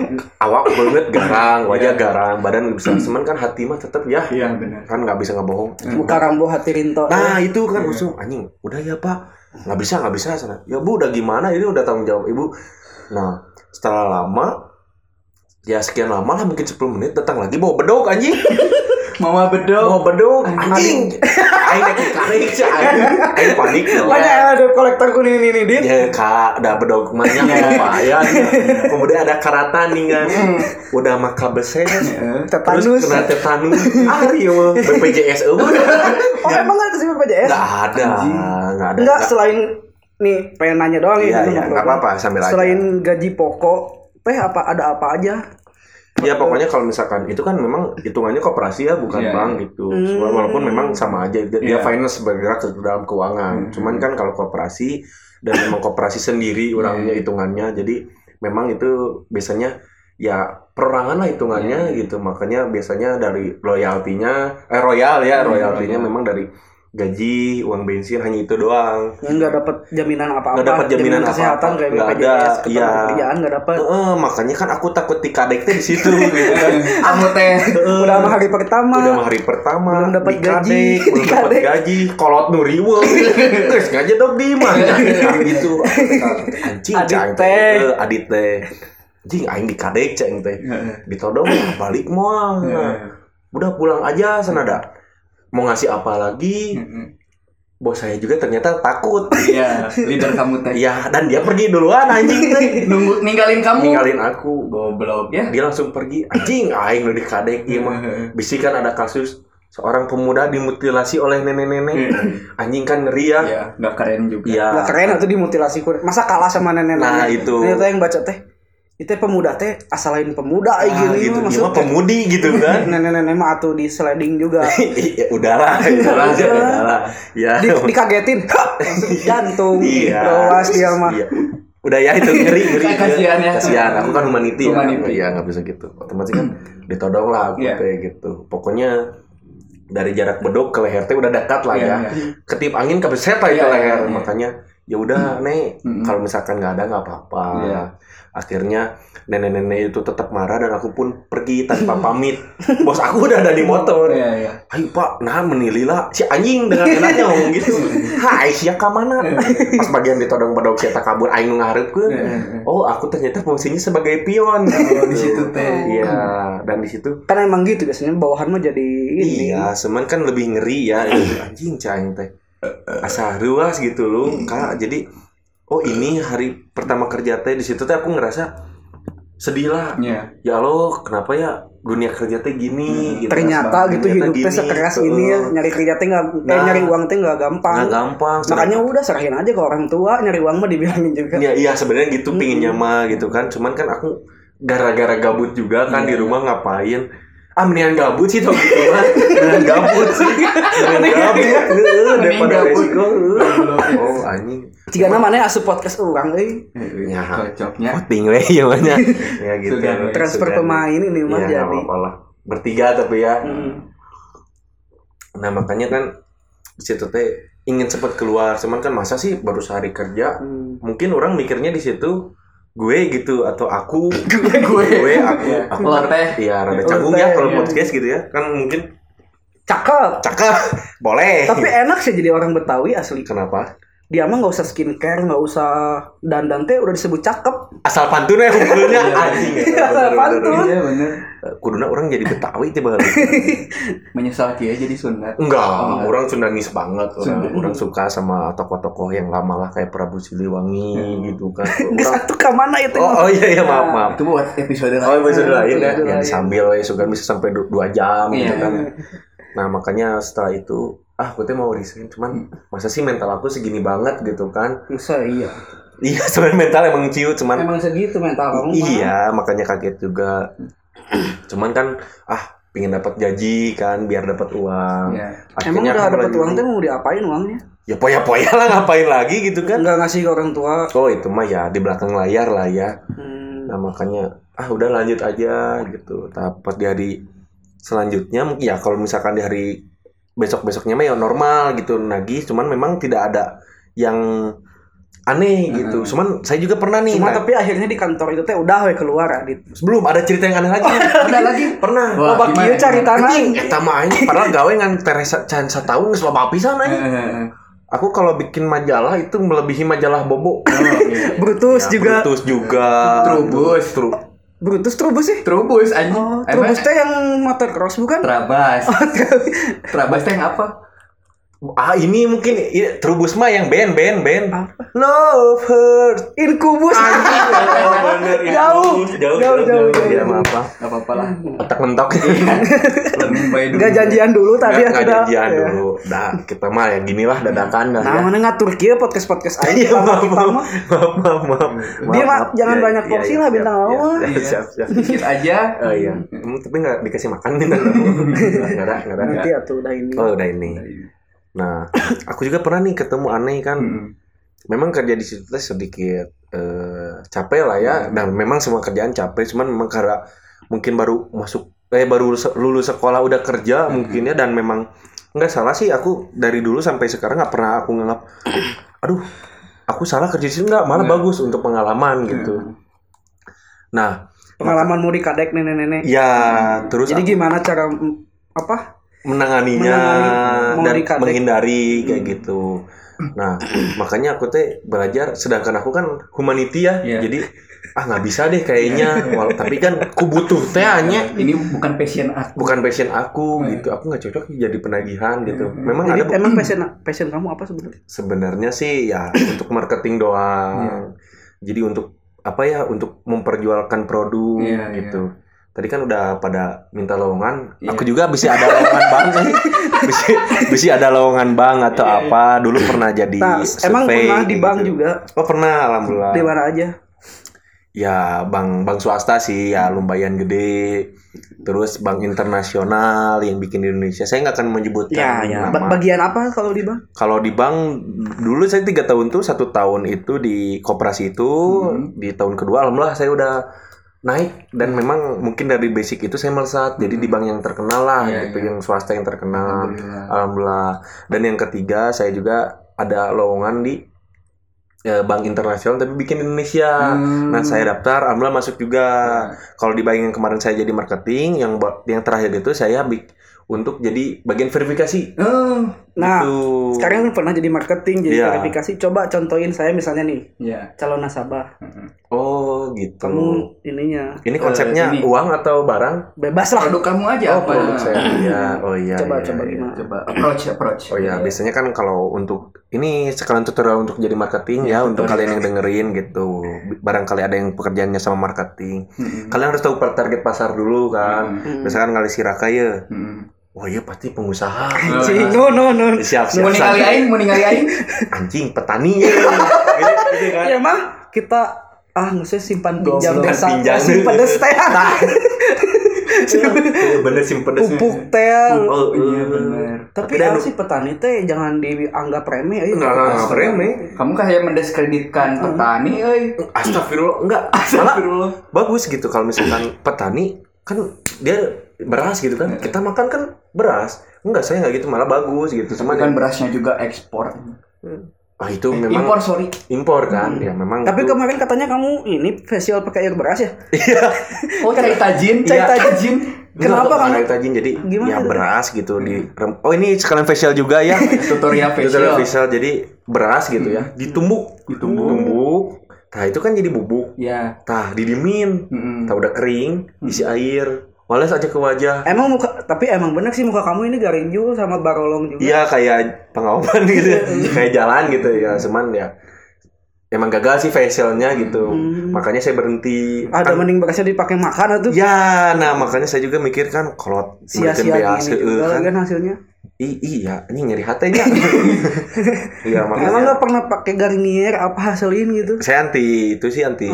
[SPEAKER 3] awak banget garang, wajah garang, badan besar, cuman kan hati mah tetep ya,
[SPEAKER 1] Iya benar. Iya.
[SPEAKER 3] kan nggak bisa ngebohong.
[SPEAKER 2] buka rambo hati rinto
[SPEAKER 3] Nah itu kan langsung anjing, udah ya pak, nggak bisa nggak bisa sana. Ya bu udah gimana ini udah tanggung jawab ibu. Nah setelah lama, ya sekian lama lah mungkin 10 menit datang lagi bawa bedok anjing.
[SPEAKER 2] Mama
[SPEAKER 3] mau
[SPEAKER 2] bedog.
[SPEAKER 3] bedung anjing aing lagi tarik [laughs] sih aing aing panik ya.
[SPEAKER 2] Banyak ada kolektor kuning ini nih, Dit.
[SPEAKER 3] ya kak udah bedog banyak lumayan kemudian ada karatan nih kan udah mah kabeset terus
[SPEAKER 2] Tetanus.
[SPEAKER 3] kena [laughs] tetanus ah iya mah BPJS [laughs] eueuh.
[SPEAKER 2] Oh, emang nggak kesini PJS?
[SPEAKER 3] E. iya. nggak ada nggak ada
[SPEAKER 2] Enggak, selain nih pengen nanya doang
[SPEAKER 3] Iya,
[SPEAKER 2] gitu,
[SPEAKER 3] iya,
[SPEAKER 2] Mas.
[SPEAKER 3] nggak apa-apa, sambil aja.
[SPEAKER 2] Selain gaji pokok, teh apa ada apa aja?
[SPEAKER 3] Ya pokoknya kalau misalkan itu kan memang hitungannya koperasi ya bukan
[SPEAKER 1] Iya,
[SPEAKER 3] bank gitu. Cuma walaupun memang sama aja dia, dia
[SPEAKER 1] Iya. Hmm.
[SPEAKER 3] finance bergerak ke dalam keuangan. Cuman kan kalau koperasi dan memang koperasi
[SPEAKER 1] Iya.
[SPEAKER 3] sendiri orangnya hitungannya jadi memang itu biasanya ya perorangan lah
[SPEAKER 1] Iya.
[SPEAKER 3] hitungannya gitu. Makanya biasanya dari royaltinya eh royal ya,
[SPEAKER 1] Hmm.
[SPEAKER 3] royaltinya
[SPEAKER 1] Iya.
[SPEAKER 3] memang dari gaji, uang bensin hanya itu doang.
[SPEAKER 2] Yang nggak dapat jaminan apa-apa.
[SPEAKER 3] Nggak dapat jaminan apa-apa,
[SPEAKER 2] kesehatan kayak
[SPEAKER 3] nggak ada,
[SPEAKER 2] BPJS,
[SPEAKER 3] iya.
[SPEAKER 2] ketenagakerjaan nggak dapat.
[SPEAKER 3] Heeh, makanya kan aku takut tikadeknya di
[SPEAKER 1] [laughs]
[SPEAKER 3] situ gitu kan.
[SPEAKER 1] Kamu teh.
[SPEAKER 2] Udah sama hari pertama.
[SPEAKER 3] udah
[SPEAKER 2] [laughs]
[SPEAKER 3] mah hari pertama
[SPEAKER 2] Belum dapat
[SPEAKER 3] dikadek,
[SPEAKER 2] gaji,
[SPEAKER 3] belum dapat
[SPEAKER 2] dikadek.
[SPEAKER 3] gaji kolot nuriwe terus ngajak dong di mana gitu anjing
[SPEAKER 2] Iya, Adit
[SPEAKER 3] cang
[SPEAKER 2] teh.
[SPEAKER 3] teh eh, adit teh anjing aing dikadek cang teh
[SPEAKER 2] Iya.
[SPEAKER 3] ditodong balik moal udah pulang aja senada mau ngasih apa lagi
[SPEAKER 2] Hmm.
[SPEAKER 3] bos saya juga ternyata takut
[SPEAKER 1] Iya, leader kamu teh.
[SPEAKER 3] ya dan dia pergi duluan anjing teh
[SPEAKER 1] Nunggu ninggalin kamu.
[SPEAKER 3] ninggalin aku
[SPEAKER 1] Goblok ya.
[SPEAKER 3] dia langsung pergi anjing aing udah dikadek ieu mah bisikan ada kasus seorang pemuda dimutilasi oleh nenek-nenek anjing kan ngeri ya
[SPEAKER 1] Iya, nggak keren juga.
[SPEAKER 2] Lah
[SPEAKER 3] Iya.
[SPEAKER 2] keren atau dimutilasi kuda. Masa kalah sama nenek
[SPEAKER 3] Nah, itu.
[SPEAKER 2] Ternyata yang baca teh. Itu teh pemuda teh asal lain pemuda ah,
[SPEAKER 3] Ah,
[SPEAKER 2] gini
[SPEAKER 3] gitu. Dia
[SPEAKER 2] maksudnya.
[SPEAKER 3] mah pemudi gitu kan.
[SPEAKER 2] [laughs]
[SPEAKER 3] [laughs]
[SPEAKER 2] Nenek-nenek mah atuh di sliding juga.
[SPEAKER 3] ya,
[SPEAKER 2] [laughs]
[SPEAKER 3] udahlah, udahlah aja, udahlah. Ya. [laughs]
[SPEAKER 2] Di, dikagetin. Langsung jantung.
[SPEAKER 3] Iya.
[SPEAKER 2] Lewas dia mah.
[SPEAKER 3] Iya. Udah ya itu ngeri, ngeri.
[SPEAKER 1] Kasihan ya.
[SPEAKER 3] Kasihan. Aku kan humanity,
[SPEAKER 1] Humanity.
[SPEAKER 3] ya. Iya, nggak bisa gitu. Otomatis
[SPEAKER 1] [clears throat]
[SPEAKER 3] kan ditodong lah aku
[SPEAKER 1] Iya.
[SPEAKER 3] teh gitu. Pokoknya dari jarak bedok ke leher teh udah dekat lah
[SPEAKER 1] Iya,
[SPEAKER 3] ya.
[SPEAKER 1] iya.
[SPEAKER 3] Ketip angin kebeset lah itu
[SPEAKER 1] Iya, iya,
[SPEAKER 3] leher.
[SPEAKER 1] iya.
[SPEAKER 3] Makanya ya udah,
[SPEAKER 1] [clears throat]
[SPEAKER 3] Nek,
[SPEAKER 1] Mm-mm.
[SPEAKER 3] kalau misalkan nggak ada nggak apa-apa.
[SPEAKER 1] Iya.
[SPEAKER 3] Akhirnya nenek-nenek itu tetap marah dan aku pun pergi tanpa pamit. Bos aku udah ada di motor.
[SPEAKER 1] Iya, iya.
[SPEAKER 3] Ayo pak, nah menilila si anjing dengan
[SPEAKER 1] [laughs]
[SPEAKER 3] enaknya ngomong gitu. Hai siapa ka mana? Pas bagian ditodong pedok saya tak kabur
[SPEAKER 1] Iya,
[SPEAKER 3] aing
[SPEAKER 1] iya.
[SPEAKER 3] ngarepkeun. Oh, aku ternyata fungsinya sebagai pion.
[SPEAKER 1] Oh, di situ teh.
[SPEAKER 3] Iya, dan di situ
[SPEAKER 2] Kan emang gitu biasanya bawahan mah jadi ini.
[SPEAKER 3] iya, cuman kan lebih ngeri
[SPEAKER 1] [clears throat]
[SPEAKER 3] ya anjing caing teh. Asa ruas gitu loh,
[SPEAKER 1] Iya.
[SPEAKER 3] Kak. Jadi oh ini hari pertama kerja teh di situ teh aku ngerasa sedih lah.
[SPEAKER 1] Iya.
[SPEAKER 3] Ya Allah, kenapa ya dunia kerja teh gini gitu.
[SPEAKER 2] Ternyata gitu
[SPEAKER 3] Ternyata
[SPEAKER 2] hidup teh
[SPEAKER 3] gini,
[SPEAKER 2] sekeras
[SPEAKER 3] heeh.
[SPEAKER 2] ini ya nyari kerja teh nggak eh,
[SPEAKER 3] Nah.
[SPEAKER 2] nyari uang teh nggak gampang.
[SPEAKER 3] Nggak gampang.
[SPEAKER 2] Makanya udah serahin aja ke orang tua nyari uang mah dibilangin juga.
[SPEAKER 3] Ya, iya sebenarnya gitu pinginnya mah gitu kan. Cuman kan aku gara-gara gabut juga kan di rumah ngapain. Ah mendingan gabut sih tau gitu mah. Mendingan gabut sih. Mendingan gabut. Heeh, Daripada
[SPEAKER 1] gabut.
[SPEAKER 3] resiko. heeh.
[SPEAKER 1] Goblok.
[SPEAKER 3] Oh anjing.
[SPEAKER 2] Jika namanya asup podcast orang eh. euy.
[SPEAKER 1] Iya,
[SPEAKER 3] Ya.
[SPEAKER 1] Cocoknya.
[SPEAKER 3] Poting weh ya banyak. Ya gitu.
[SPEAKER 1] Sudah, weh.
[SPEAKER 2] transfer pemain ini mah
[SPEAKER 3] Iya nggak
[SPEAKER 2] jadi.
[SPEAKER 3] apa-apa lah. Bertiga tapi ya. Nah makanya kan di situ teh ingin cepat keluar. Cuman kan masa sih baru sehari kerja
[SPEAKER 2] Hmm.
[SPEAKER 3] mungkin orang mikirnya di situ gue gitu atau aku gue
[SPEAKER 1] gue.
[SPEAKER 3] aku
[SPEAKER 1] Iya.
[SPEAKER 3] aku
[SPEAKER 1] Lo teh.
[SPEAKER 3] ya rada
[SPEAKER 2] Lo
[SPEAKER 3] canggung ya
[SPEAKER 2] teh,
[SPEAKER 3] kalau
[SPEAKER 1] iya.
[SPEAKER 3] podcast gitu ya kan mungkin
[SPEAKER 2] Cakep.
[SPEAKER 3] cakep [laughs] boleh
[SPEAKER 2] Tapi enak sih jadi orang Betawi asli.
[SPEAKER 3] kenapa
[SPEAKER 2] Dia mah nggak usah skincare, nggak usah dandan teh udah disebut cakep. [laughs]
[SPEAKER 3] asal pantun ya hukumnya anjing
[SPEAKER 2] Asal pantun.
[SPEAKER 1] Iya, bener.
[SPEAKER 3] kuduna orang jadi betawi tiba
[SPEAKER 1] Menyesal dia jadi sunat.
[SPEAKER 3] enggak
[SPEAKER 1] Oh, enggak.
[SPEAKER 3] orang Sundanis banget orang
[SPEAKER 1] Sundanis.
[SPEAKER 3] orang suka sama tokoh-tokoh yang lama lah kayak Prabu Siliwangi gitu kan orang
[SPEAKER 2] Satu ke mana itu?
[SPEAKER 3] oh, oh iya iya maaf maaf
[SPEAKER 1] Itu buat episode
[SPEAKER 3] Oh,
[SPEAKER 1] lain.
[SPEAKER 3] episode lain ya.
[SPEAKER 2] Episode
[SPEAKER 3] Yang
[SPEAKER 2] lain.
[SPEAKER 3] sambil ya, suka bisa sampai du- dua jam gitu
[SPEAKER 1] Iya.
[SPEAKER 3] kan. Nah, makanya setelah itu ah aku tuh mau resign cuman masa sih mental aku segini banget gitu kan.
[SPEAKER 2] Bisa iya. Kan
[SPEAKER 3] Iya, [laughs] sebenarnya mental emang ciut cuman
[SPEAKER 2] Emang segitu mental kamu. mah.
[SPEAKER 3] iya, makanya kaget juga. cuman kan ah pingin dapat gaji kan biar dapat uang.
[SPEAKER 1] Iya.
[SPEAKER 2] Emang udah
[SPEAKER 3] aku
[SPEAKER 2] dapat
[SPEAKER 3] lagi-
[SPEAKER 2] uang teh mau diapain uangnya?
[SPEAKER 3] Ya poya-poya lah ngapain lagi gitu kan.
[SPEAKER 2] Enggak ngasih ke orang tua.
[SPEAKER 3] Oh, itu mah ya di belakang layar lah ya.
[SPEAKER 2] Hmm.
[SPEAKER 3] Nah makanya ah udah lanjut aja gitu. Tapi pas di hari selanjutnya mungkin ya kalau misalkan di hari besok besoknya mah ya normal gitu nagih. Cuman memang tidak ada yang aneh gitu. Cuman saya juga pernah nih.
[SPEAKER 2] Cuma
[SPEAKER 3] nah,
[SPEAKER 2] tapi akhirnya di kantor itu teh udah we keluar Adit.
[SPEAKER 3] sebelum ada cerita yang aneh lagi.
[SPEAKER 2] [laughs]
[SPEAKER 1] Ada lagi.
[SPEAKER 3] pernah.
[SPEAKER 1] Wah,
[SPEAKER 2] Oh, bagi
[SPEAKER 1] gimana,
[SPEAKER 3] ya?
[SPEAKER 2] ieu cari
[SPEAKER 1] gimana?
[SPEAKER 2] tanah.
[SPEAKER 3] Anjing, eta mah aing padahal gawe ngan teresa can sataun geus loba pisan aing.
[SPEAKER 2] Mm.
[SPEAKER 1] Heeh.
[SPEAKER 3] Aku kalau bikin majalah itu melebihi majalah
[SPEAKER 1] Oh,
[SPEAKER 3] Bobo.
[SPEAKER 1] iya.
[SPEAKER 2] Brutus
[SPEAKER 3] Ya,
[SPEAKER 2] juga.
[SPEAKER 3] Brutus juga.
[SPEAKER 1] Trubus.
[SPEAKER 3] Tru-
[SPEAKER 2] Brutus Trubus sih.
[SPEAKER 1] Trubus Oh, anjing.
[SPEAKER 2] Oh,
[SPEAKER 1] Emang-
[SPEAKER 2] Trubus teh yang motor cross
[SPEAKER 3] [laughs]
[SPEAKER 2] bukan?
[SPEAKER 1] Trabas. Trabas teh yang [laughs] apa?
[SPEAKER 3] Ah ini mungkin i- Trubus mah yang band band band.
[SPEAKER 2] Apa?
[SPEAKER 3] Love her.
[SPEAKER 2] Incubus.
[SPEAKER 3] Oh, bener, ya.
[SPEAKER 2] Jauh. Oh,
[SPEAKER 3] jauh,
[SPEAKER 2] Jauh, jauh, jauh.
[SPEAKER 3] Ya maaf, maaf.
[SPEAKER 1] Gak iya. apa-apa
[SPEAKER 3] [laughs]
[SPEAKER 1] lah.
[SPEAKER 3] Otak mentok. [laughs]
[SPEAKER 1] Lemin bayi dulu.
[SPEAKER 2] Enggak janjian dulu tadi
[SPEAKER 3] Nggak-
[SPEAKER 2] aku
[SPEAKER 3] nggak
[SPEAKER 2] udah.
[SPEAKER 3] janjian
[SPEAKER 2] ya.
[SPEAKER 3] dulu. Dah, kita mah ya ginilah dadakan dah.
[SPEAKER 2] Nah,
[SPEAKER 3] ya.
[SPEAKER 2] mana ngatur kieu podcast-podcast aja
[SPEAKER 3] [laughs] Iya, maaf,
[SPEAKER 2] kita mah.
[SPEAKER 3] maaf, maaf, maaf, maaf.
[SPEAKER 2] Dia mah
[SPEAKER 3] Maaf,
[SPEAKER 2] jangan
[SPEAKER 3] iya,
[SPEAKER 2] banyak
[SPEAKER 3] iya,
[SPEAKER 2] porsi
[SPEAKER 3] iya,
[SPEAKER 2] lah Oh,
[SPEAKER 3] siap,
[SPEAKER 2] bintang
[SPEAKER 3] iya,
[SPEAKER 2] awal.
[SPEAKER 3] iya,
[SPEAKER 1] Iya.
[SPEAKER 3] Siap, siap.
[SPEAKER 1] Dikit aja.
[SPEAKER 3] Oh iya,
[SPEAKER 2] Mm,
[SPEAKER 3] Em, tapi nggak dikasih makan nih
[SPEAKER 2] [laughs]
[SPEAKER 3] nggak nggak ada, nggak ada.
[SPEAKER 2] Nanti atuh udah ini.
[SPEAKER 3] Iya. Oh udah ini.
[SPEAKER 1] Iya.
[SPEAKER 3] Nah, aku juga pernah nih ketemu aneh kan.
[SPEAKER 2] Mm.
[SPEAKER 3] Memang kerja di situ teh sedikit eh, capek lah ya. Dan memang semua kerjaan capek, cuman memang karena mungkin baru masuk eh baru se- lulus sekolah udah kerja mungkin ya dan memang nggak salah sih aku dari dulu sampai sekarang nggak pernah aku nganggap aduh aku salah kerja di sini nggak malah bagus untuk pengalaman gitu. Nah,
[SPEAKER 2] Pengalamanmu di kadek nenek-nenek.
[SPEAKER 3] ya terus
[SPEAKER 2] Jadi gimana cara mm, apa?
[SPEAKER 3] menanganinya
[SPEAKER 2] Menangani,
[SPEAKER 3] dan
[SPEAKER 2] mengdikadek.
[SPEAKER 3] menghindari kayak gitu. Nah, makanya aku teh belajar sedangkan aku kan humanity ya.
[SPEAKER 1] Iya.
[SPEAKER 3] Jadi ah nggak bisa deh kayaknya. Wal- tapi kan ku butuh teh hanya
[SPEAKER 1] Ini bukan passion aku.
[SPEAKER 3] bukan passion aku gitu. Aku nggak cocok jadi penagihan gitu. Memang
[SPEAKER 2] Jadi
[SPEAKER 3] ada bu-
[SPEAKER 2] emang passion passion kamu apa sebenarnya?
[SPEAKER 3] sebenarnya sih ya untuk marketing
[SPEAKER 2] Iya.
[SPEAKER 3] doang. Jadi untuk apa ya untuk memperjualkan produk
[SPEAKER 1] Iya,
[SPEAKER 3] gitu. Tadi kan udah pada minta lowongan,
[SPEAKER 1] Iya.
[SPEAKER 3] aku juga bisa ada lowongan bank,
[SPEAKER 2] [laughs]
[SPEAKER 3] bisa bisa ada lowongan bank atau
[SPEAKER 1] Iya, iya.
[SPEAKER 3] apa. Dulu pernah jadi
[SPEAKER 2] Nah, emang
[SPEAKER 3] survei,
[SPEAKER 2] pernah di
[SPEAKER 3] kayak
[SPEAKER 2] bank
[SPEAKER 3] gitu.
[SPEAKER 2] juga?
[SPEAKER 3] Oh pernah, alhamdulillah.
[SPEAKER 2] Di mana aja?
[SPEAKER 3] Ya bank bank swasta sih, ya lumayan gede. Terus bank internasional yang bikin di Indonesia, saya nggak akan menyebutkan
[SPEAKER 2] Iya, Nah,
[SPEAKER 3] nama.
[SPEAKER 2] Ba- Bagian apa kalau di bank?
[SPEAKER 3] Kalau di bank dulu saya tiga tahun tuh satu tahun itu di koperasi itu
[SPEAKER 1] Mhm.
[SPEAKER 3] di tahun kedua alhamdulillah saya udah
[SPEAKER 1] Hmm.
[SPEAKER 3] naik dan memang mungkin dari basic itu saya melesat jadi di bank yang terkenal lah
[SPEAKER 1] Iya,
[SPEAKER 3] gitu
[SPEAKER 1] iya.
[SPEAKER 3] yang swasta yang terkenal
[SPEAKER 1] Alhamdulillah.
[SPEAKER 3] alhamdulillah dan yang ketiga saya juga ada lowongan di eh, bank internasional tapi bikin Indonesia
[SPEAKER 1] Hmm.
[SPEAKER 3] nah saya daftar alhamdulillah masuk juga kalau di bank yang kemarin saya jadi marketing yang ba- yang terakhir itu saya bik- untuk jadi bagian verifikasi
[SPEAKER 1] Oh,
[SPEAKER 2] Nah,
[SPEAKER 3] Gitu.
[SPEAKER 2] sekarang pernah jadi marketing, jadi
[SPEAKER 3] Iya.
[SPEAKER 2] verifikasi. Coba contohin saya misalnya nih,
[SPEAKER 1] ya.
[SPEAKER 2] calon nasabah.
[SPEAKER 3] Oh gitu.
[SPEAKER 2] Kamu ininya
[SPEAKER 3] ini konsepnya
[SPEAKER 1] Eh, ini.
[SPEAKER 3] uang atau barang?
[SPEAKER 2] bebas lah.
[SPEAKER 1] Produk kamu aja apa?
[SPEAKER 3] Oh produk saya. Iya. Oh iya.
[SPEAKER 2] Coba
[SPEAKER 3] iya,
[SPEAKER 2] coba
[SPEAKER 3] iya.
[SPEAKER 2] gimana?
[SPEAKER 1] Coba approach approach.
[SPEAKER 3] Oh iya, biasanya kan kalau untuk ini sekalian tutorial untuk jadi marketing ya untuk kalian yang dengerin gitu. Barangkali ada yang pekerjaannya sama marketing.
[SPEAKER 1] Mm-mm.
[SPEAKER 3] Kalian harus tahu per- target pasar dulu kan.
[SPEAKER 2] Hmm.
[SPEAKER 3] Misalkan kali siraka ya.
[SPEAKER 1] Mm-mm.
[SPEAKER 3] Wah, iya pasti pengusaha.
[SPEAKER 2] [laughs] Cing, no no no.
[SPEAKER 3] siap, siap.
[SPEAKER 1] Mau ningali
[SPEAKER 3] siap.
[SPEAKER 1] aing, mau ningali
[SPEAKER 3] [laughs]
[SPEAKER 1] aing.
[SPEAKER 3] Anjing, petani. ya. Gitu, gitu kan.
[SPEAKER 2] Ya mah kita ah nggak simpan pinjam
[SPEAKER 3] Goblok.
[SPEAKER 2] desa,
[SPEAKER 3] Pinjam.
[SPEAKER 2] [laughs] simpan desa teh.
[SPEAKER 3] Iya, Bener simpen
[SPEAKER 2] Pupuk teh.
[SPEAKER 3] Oh,
[SPEAKER 1] Iya
[SPEAKER 3] iya.
[SPEAKER 1] benar.
[SPEAKER 2] Tapi
[SPEAKER 3] Tapi
[SPEAKER 2] ah,
[SPEAKER 3] dah-
[SPEAKER 2] sih petani teh jangan dianggap remeh
[SPEAKER 3] Enggak,
[SPEAKER 2] ya.
[SPEAKER 3] enggak, enggak, nah, remeh.
[SPEAKER 1] Kamu kayak mendiskreditkan petani, euy.
[SPEAKER 3] Astagfirullah, enggak. Hmm. Malah
[SPEAKER 1] Astagfirullah.
[SPEAKER 3] bagus gitu kalau misalkan petani kan dia beras gitu kan. Kita makan kan beras. Enggak, saya enggak gitu, malah bagus gitu. Cuman
[SPEAKER 1] Bukan berasnya juga ekspor.
[SPEAKER 3] ah, itu memang impor,
[SPEAKER 1] Impor sorry.
[SPEAKER 3] kan. Ya memang
[SPEAKER 2] Tapi
[SPEAKER 3] itu-
[SPEAKER 2] kemarin katanya kamu ini facial pakai air beras ya?
[SPEAKER 1] Oh cari tajin,
[SPEAKER 2] Cai
[SPEAKER 3] Iya.
[SPEAKER 1] cari tajin.
[SPEAKER 3] [laughs] Enggak,
[SPEAKER 2] Kenapa kamu
[SPEAKER 3] kemarin tajin jadi
[SPEAKER 2] Gimana
[SPEAKER 3] ya
[SPEAKER 2] tuh?
[SPEAKER 3] beras gitu di rem- Oh, ini sekalian facial juga ya.
[SPEAKER 1] Tutorial
[SPEAKER 3] Tutorial
[SPEAKER 1] facial.
[SPEAKER 3] facial jadi beras gitu ya. Ditumbuk,
[SPEAKER 1] Ditumbuk.
[SPEAKER 3] Ditumbuk. Nah, itu kan jadi bubuk.
[SPEAKER 1] Ya.
[SPEAKER 3] Tah, didimin.
[SPEAKER 1] Mm-mm.
[SPEAKER 3] Tah udah kering, isi air. Wales aja ke wajah.
[SPEAKER 2] Emang muka tapi emang bener sih muka kamu ini garing juga sama barolong juga.
[SPEAKER 3] Iya kayak pengawaman [laughs] gitu, kayak jalan gitu ya, cuman ya emang gagal sih facialnya gitu, makanya saya berhenti.
[SPEAKER 2] Ada
[SPEAKER 3] Kan-
[SPEAKER 2] mending berasnya dipakai makan atau
[SPEAKER 3] ya, nah makanya saya juga mikir kan kalau
[SPEAKER 2] sia-sia
[SPEAKER 3] meureun beas
[SPEAKER 2] gini
[SPEAKER 3] heueuh
[SPEAKER 2] juga
[SPEAKER 3] kan,
[SPEAKER 2] kan hasilnya.
[SPEAKER 3] I- iya, ini nyeri hatinya. Iya
[SPEAKER 2] Emang
[SPEAKER 3] makanya
[SPEAKER 2] nggak pernah pakai garnier apa hasilin gitu?
[SPEAKER 3] saya anti itu sih anti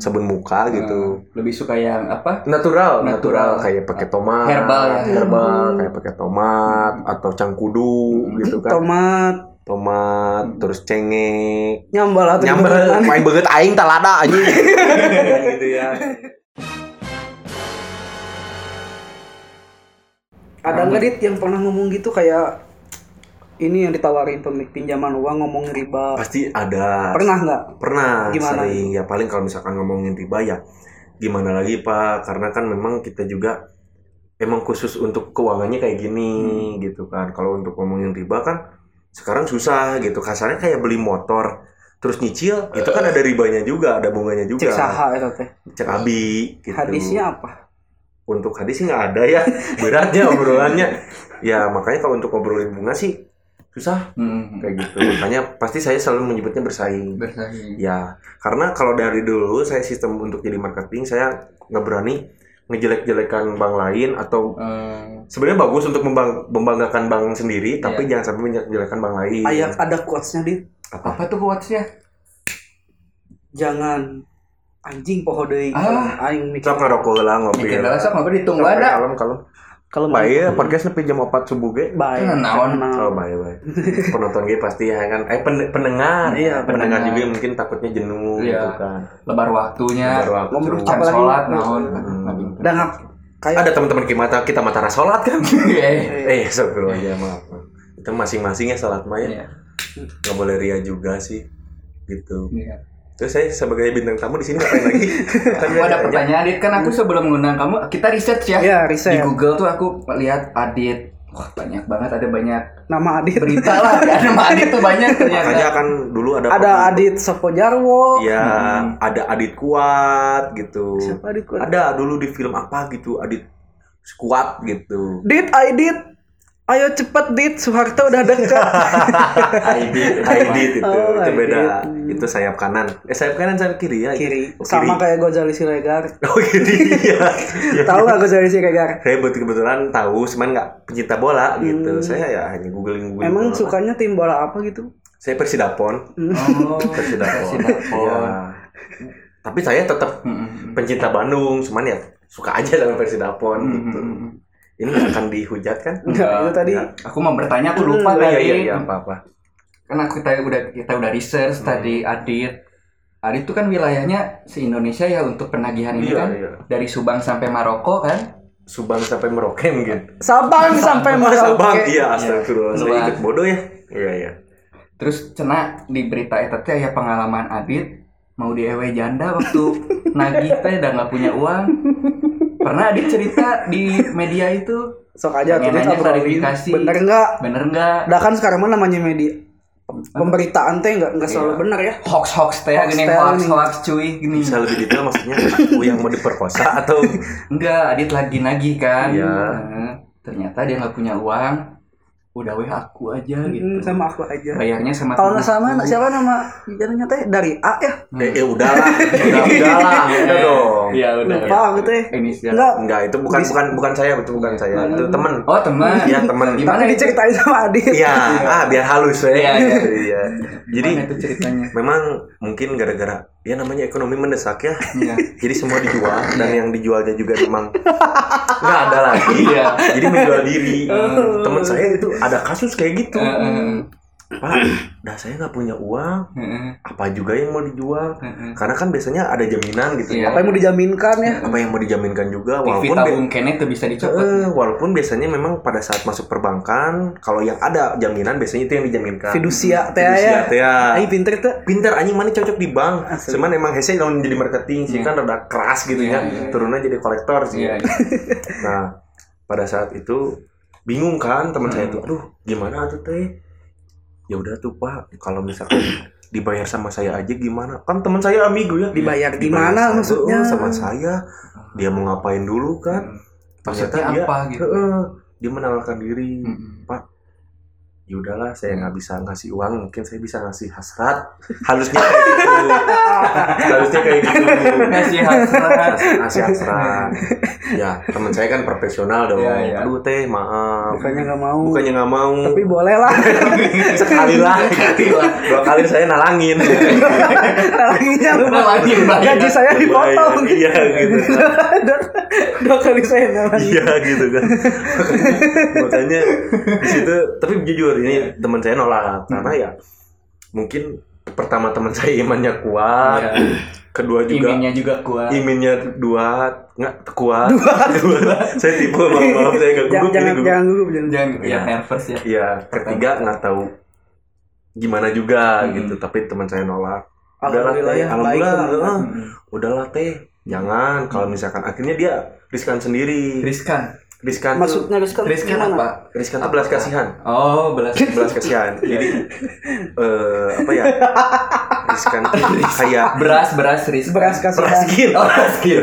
[SPEAKER 3] sabun muka gitu.
[SPEAKER 1] Lebih suka yang [laughs] apa?
[SPEAKER 3] Ah. Natural,
[SPEAKER 1] Natural.
[SPEAKER 3] natural, kayak pakai tomat,
[SPEAKER 1] Herbal ya.
[SPEAKER 3] herbal, kayak pakai tomat atau cangkudu
[SPEAKER 2] Hmm.
[SPEAKER 3] gitu kan,
[SPEAKER 2] Tomat
[SPEAKER 3] tomat, terus cengek,
[SPEAKER 2] nyambal atau
[SPEAKER 3] nyamber main beget aing talada anjing gitu ya
[SPEAKER 2] Ada nggak dit yang pernah ngomong gitu kayak ini yang ditawarin pemilik pinjaman uang ngomong riba.
[SPEAKER 3] [laughs] pasti ada
[SPEAKER 2] Pernah nggak?
[SPEAKER 3] pernah
[SPEAKER 2] Gimana?
[SPEAKER 3] sering ya paling kalau misalkan ngomongin riba ya gimana lagi pak karena kan memang kita juga emang khusus untuk keuangannya kayak gini gitu kan kalau untuk ngomongin riba kan sekarang susah gitu kasarnya kayak beli motor terus nyicil itu kan ada ribanya juga ada bunganya juga
[SPEAKER 2] Cek saha itu teh.
[SPEAKER 3] cek abi gitu
[SPEAKER 2] Hadisnya apa?
[SPEAKER 3] untuk hadis sih nggak ada ya [laughs] beratnya obrolannya ya makanya kalau untuk ngobrolin bunga sih susah
[SPEAKER 1] Hmm.
[SPEAKER 3] kayak gitu makanya pasti saya selalu menyebutnya
[SPEAKER 1] gitu
[SPEAKER 3] bersaing
[SPEAKER 1] Bersaing.
[SPEAKER 3] ya karena kalau dari dulu saya sistem untuk jadi marketing saya nggak berani ngejelek-jelekan bank lain atau
[SPEAKER 1] Hmm.
[SPEAKER 3] sebenarnya bagus untuk membang- membanggakan bank sendiri
[SPEAKER 1] Iya.
[SPEAKER 3] tapi jangan sampai menjelek-jelekan bank lain
[SPEAKER 1] Ah,
[SPEAKER 2] Ayak ada quotes-nya di
[SPEAKER 3] apa
[SPEAKER 1] Apa tuh quotesnya?
[SPEAKER 2] jangan anjing poho deui.
[SPEAKER 1] Ah.
[SPEAKER 2] aing mikir.
[SPEAKER 3] Sok ngerokok lah ngopi
[SPEAKER 1] Mikir lah sok ngobrol ditunggu
[SPEAKER 3] Sok,
[SPEAKER 1] ada.
[SPEAKER 3] kalem kalem
[SPEAKER 2] Kalau
[SPEAKER 3] baik podcast nepi jam 4 subuh ge
[SPEAKER 2] Baik.
[SPEAKER 1] Nah, naon.
[SPEAKER 3] Oh, baik baik. Penonton gue pasti ya kan. Eh pen- pendengar.
[SPEAKER 2] Iya,
[SPEAKER 3] pendengar,
[SPEAKER 1] pendengar.
[SPEAKER 3] juga mungkin takutnya jenuh
[SPEAKER 1] Iya.
[SPEAKER 3] gitu kan.
[SPEAKER 1] Lebar waktunya.
[SPEAKER 3] Baru aku
[SPEAKER 2] Ngomong
[SPEAKER 3] suruh-
[SPEAKER 1] Jam
[SPEAKER 2] Apalagi-
[SPEAKER 1] sholat naon.
[SPEAKER 3] Hmm.
[SPEAKER 1] Nabi.
[SPEAKER 2] Dan
[SPEAKER 1] [laughs]
[SPEAKER 2] kayak
[SPEAKER 3] Ada teman-teman kita mata kita matara sholat kan. [laughs]
[SPEAKER 1] Eh.
[SPEAKER 3] eh, sebelum aja maaf. maaf. Itu masing-masingnya sholat mah ya.
[SPEAKER 1] Iya.
[SPEAKER 3] Nggak boleh ria juga sih. Gitu.
[SPEAKER 1] Iya.
[SPEAKER 3] Terus saya sebagai bintang tamu di sini ngapain
[SPEAKER 2] [laughs]
[SPEAKER 3] lagi? Tapi ya,
[SPEAKER 1] Aku ada pertanyaan Adit kan aku sebelum mengundang kamu kita research ya.
[SPEAKER 2] Iya,
[SPEAKER 1] Di
[SPEAKER 2] riset.
[SPEAKER 1] Google tuh aku lihat Adit. Wah, banyak banget ada banyak
[SPEAKER 2] Nama Adit.
[SPEAKER 1] berita lah [laughs] ada sama Adit tuh banyak
[SPEAKER 3] Makanya
[SPEAKER 1] ternyata.
[SPEAKER 3] kan dulu ada
[SPEAKER 2] [laughs] Ada Adit Sopo Jarwo.
[SPEAKER 3] Iya, ada Adit kuat gitu.
[SPEAKER 2] Hmm. Siapa Adit kuat?
[SPEAKER 3] Ada dulu di film apa gitu, Adit kuat gitu.
[SPEAKER 2] Dit, I did. Ayo cepet dit, Soeharto udah dekat.
[SPEAKER 3] Aidit,
[SPEAKER 2] [laughs]
[SPEAKER 3] Aidit itu,
[SPEAKER 2] Oh,
[SPEAKER 3] itu beda.
[SPEAKER 2] Aidit.
[SPEAKER 3] Itu sayap kanan. Eh sayap kanan sayap kiri ya.
[SPEAKER 2] Kiri.
[SPEAKER 3] Oh,
[SPEAKER 2] Sama kayak Gozali Siregar.
[SPEAKER 3] [laughs] Oh kiri ya.
[SPEAKER 2] [laughs]
[SPEAKER 3] Ya.
[SPEAKER 2] Tahu nggak Gozali Siregar?
[SPEAKER 3] Saya bet- kebetulan tahu, cuman nggak pencinta bola gitu. Saya ya hanya googling googling.
[SPEAKER 2] Emang sukanya tim bola apa gitu?
[SPEAKER 3] Saya Persidapon.
[SPEAKER 1] Oh, [laughs]
[SPEAKER 3] Persidapon.
[SPEAKER 1] Persidapon.
[SPEAKER 3] Iya. Tapi saya tetap
[SPEAKER 1] Mm-mm.
[SPEAKER 3] pencinta Bandung, cuman ya suka aja sama Persidapon gitu.
[SPEAKER 1] Mm-mm.
[SPEAKER 3] Ini akan dihujat kan?
[SPEAKER 2] Enggak, itu tadi.
[SPEAKER 3] Enggak.
[SPEAKER 1] Aku mau bertanya aku lupa
[SPEAKER 3] Oh,
[SPEAKER 1] tadi.
[SPEAKER 3] iya iya iya Hmm. apa apa.
[SPEAKER 1] Karena kita udah kita udah research tadi Adit. Adit itu kan wilayahnya se-Indonesia ya untuk penagihan ini
[SPEAKER 3] Iya,
[SPEAKER 1] kan.
[SPEAKER 3] iya.
[SPEAKER 1] Dari Subang sampai Maroko kan.
[SPEAKER 3] Subang sampai Merauke mungkin.
[SPEAKER 2] Sabang sampai
[SPEAKER 3] Mas
[SPEAKER 2] Merauke.
[SPEAKER 3] Abang, iya astagfirullah. Saya
[SPEAKER 1] Luar.
[SPEAKER 3] ikut bodoh ya. Iya iya.
[SPEAKER 1] Terus cena di berita itu teh ya pengalaman Adit mau di ewe janda
[SPEAKER 3] [laughs]
[SPEAKER 1] waktu nagih teh dan nggak punya uang. Pernah Adit cerita di media itu
[SPEAKER 2] Sok aja tuh dit
[SPEAKER 1] Pengen nanya
[SPEAKER 2] obrolin.
[SPEAKER 1] klarifikasi.
[SPEAKER 2] Bener nggak?
[SPEAKER 1] bener nggak?
[SPEAKER 2] Dah kan sekarang mah namanya media pemberitaan teh nggak nggak selalu benar ya.
[SPEAKER 1] hoax hoax teh
[SPEAKER 2] Hoax
[SPEAKER 1] gini
[SPEAKER 2] teh.
[SPEAKER 1] hoax hoax cuy gini
[SPEAKER 3] Bisa lebih detail maksudnya aku yang mau diperkosa atau
[SPEAKER 1] enggak adit lagi nagih kan
[SPEAKER 3] Iya.
[SPEAKER 1] Nah, ternyata dia nggak punya uang udah weh aku aja
[SPEAKER 2] Hmm,
[SPEAKER 1] gitu
[SPEAKER 2] sama aku aja.
[SPEAKER 1] bayarnya sama
[SPEAKER 2] Kalau nggak
[SPEAKER 1] temanku.
[SPEAKER 2] sama
[SPEAKER 1] [laughs]
[SPEAKER 2] siapa nama bicaranya teh dari A ya?
[SPEAKER 3] eh, eh udahlah, udah
[SPEAKER 2] [laughs]
[SPEAKER 3] udahlah, udah dong.
[SPEAKER 1] iya udah
[SPEAKER 2] Lupa aku teh.
[SPEAKER 1] Inisial.
[SPEAKER 2] Enggak.
[SPEAKER 3] Enggak, itu bukan bukan bukan saya, itu bukan saya. Itu teman.
[SPEAKER 1] oh teman
[SPEAKER 3] Iya, teman.
[SPEAKER 1] gimana
[SPEAKER 2] Tapi
[SPEAKER 1] itu
[SPEAKER 2] diceritain sama Adit.
[SPEAKER 3] Iya, ah biar halus ya.
[SPEAKER 1] Iya, iya.
[SPEAKER 3] Iya. Jadi
[SPEAKER 1] gimana itu ceritanya
[SPEAKER 3] memang mungkin gara-gara ya namanya ekonomi mendesak ya.
[SPEAKER 1] iya
[SPEAKER 3] Jadi semua dijual dan yang dijualnya juga memang nggak ada lagi.
[SPEAKER 1] Iya. Oh.
[SPEAKER 3] Jadi menjual diri. Teman saya itu ada kasus kayak
[SPEAKER 1] Eh,
[SPEAKER 3] gitu. Pak, dah saya nggak punya uang.
[SPEAKER 1] Heeh,
[SPEAKER 3] Apa juga yang mau dijual?
[SPEAKER 1] heeh.
[SPEAKER 3] Karena kan biasanya ada jaminan gitu.
[SPEAKER 1] Iya.
[SPEAKER 2] Apa yang mau dijaminkan ya?
[SPEAKER 3] Apa yang mau dijaminkan juga
[SPEAKER 1] TV
[SPEAKER 3] walaupun be-
[SPEAKER 1] tabung kene tuh bisa dicopot
[SPEAKER 3] Eh, walaupun biasanya memang pada saat masuk perbankan kalau yang ada jaminan biasanya itu yang dijaminkan.
[SPEAKER 2] Fidusia teh
[SPEAKER 3] Fidusia
[SPEAKER 2] ya.
[SPEAKER 3] teh ya.
[SPEAKER 2] Aing pinter teh.
[SPEAKER 3] Pintar anjing mana cocok di bank. Cuman emang hese kalau jadi marketing sih
[SPEAKER 1] Iya.
[SPEAKER 3] kan rada keras gitu
[SPEAKER 1] Iya,
[SPEAKER 3] ya.
[SPEAKER 1] iya.
[SPEAKER 3] Turunnya jadi kolektor sih.
[SPEAKER 1] iya iya.
[SPEAKER 3] Nah, pada saat itu bingung kan teman saya itu, aduh gimana tuh teh? Ya udah tuh Pak, kalau misalkan dibayar sama saya aja gimana? Kan teman saya amigo ya.
[SPEAKER 2] Dibayar di
[SPEAKER 3] Dibayar
[SPEAKER 2] mana
[SPEAKER 3] sama-
[SPEAKER 2] maksudnya?
[SPEAKER 3] eh, Sama saya. Dia mau ngapain dulu kan?
[SPEAKER 1] maksudnya
[SPEAKER 3] Ternyata dia-
[SPEAKER 1] apa
[SPEAKER 2] iya.
[SPEAKER 1] gitu Hmm.
[SPEAKER 3] Heeh, dia menawarkan diri.
[SPEAKER 1] Mm-mm.
[SPEAKER 3] Ya udahlah, saya nggak bisa ngasih uang, mungkin saya bisa ngasih hasrat. Harusnya kayak gitu. Harusnya kayak gitu.
[SPEAKER 1] ngasih
[SPEAKER 2] [laughs]
[SPEAKER 1] hasrat
[SPEAKER 3] Ngasih hasrat. Ya, teman saya kan profesional dong.
[SPEAKER 1] Iya, iya.
[SPEAKER 3] Aduh teh, maaf.
[SPEAKER 2] Bukannya nggak mau.
[SPEAKER 3] Bukannya nggak mau.
[SPEAKER 2] Tapi boleh
[SPEAKER 3] [laughs]
[SPEAKER 2] lah.
[SPEAKER 3] sekali lah. gitu. Dua kali saya nalangin.
[SPEAKER 2] Talanginya
[SPEAKER 1] Udah
[SPEAKER 2] lumayan.
[SPEAKER 1] lagi bayar.
[SPEAKER 2] Gaji saya dipotong.
[SPEAKER 3] Iya gitu. kan.
[SPEAKER 2] Dua- [laughs] Dua kali saya nyalain.
[SPEAKER 3] Iya [laughs] gitu
[SPEAKER 2] [laughs]
[SPEAKER 3] kan. Makanya, makanya di situ tapi jujur
[SPEAKER 2] Iya.
[SPEAKER 3] ini teman saya
[SPEAKER 2] Hmm.
[SPEAKER 3] nolak karena ya mungkin pertama teman saya imannya kuat,
[SPEAKER 1] Iya.
[SPEAKER 3] kedua juga
[SPEAKER 1] Iminnya juga
[SPEAKER 2] Iya,
[SPEAKER 1] kuat.
[SPEAKER 3] iminnya dua nggak kuat. [laughs] Dua. saya tipu
[SPEAKER 2] [laughs]
[SPEAKER 3] maaf, maaf saya nggak
[SPEAKER 2] Jangan
[SPEAKER 3] gugup ini
[SPEAKER 2] jangan
[SPEAKER 3] gugup.
[SPEAKER 2] jangan gugup jangan.
[SPEAKER 1] Jangan
[SPEAKER 3] Iya.
[SPEAKER 1] ya nervous ya.
[SPEAKER 3] Iya, ketiga nggak tahu gimana juga
[SPEAKER 1] Hmm.
[SPEAKER 3] gitu tapi teman saya nolak.
[SPEAKER 2] Alhamdulillah
[SPEAKER 3] Udahlah, teh.
[SPEAKER 2] ya, baik Hmm.
[SPEAKER 3] alhamdulillah.
[SPEAKER 2] teman-teman.
[SPEAKER 3] heeh. Udahlah teh, jangan kalau misalkan akhirnya dia riskan sendiri.
[SPEAKER 1] Riskan.
[SPEAKER 3] Riskan tuh-
[SPEAKER 2] Maksudnya riskan
[SPEAKER 1] Riskan
[SPEAKER 2] gimana?
[SPEAKER 1] apa?
[SPEAKER 3] Riskan tuh belas kasihan. [laughs]
[SPEAKER 1] [laughs] Oh, belas
[SPEAKER 3] Belas kasihan. Jadi eh apa ya? Riz kan
[SPEAKER 1] [laughs]
[SPEAKER 3] kayak
[SPEAKER 1] beras beras ris
[SPEAKER 2] Beras
[SPEAKER 3] kan?
[SPEAKER 2] kasihan.
[SPEAKER 3] kasihan.
[SPEAKER 1] oh beras kir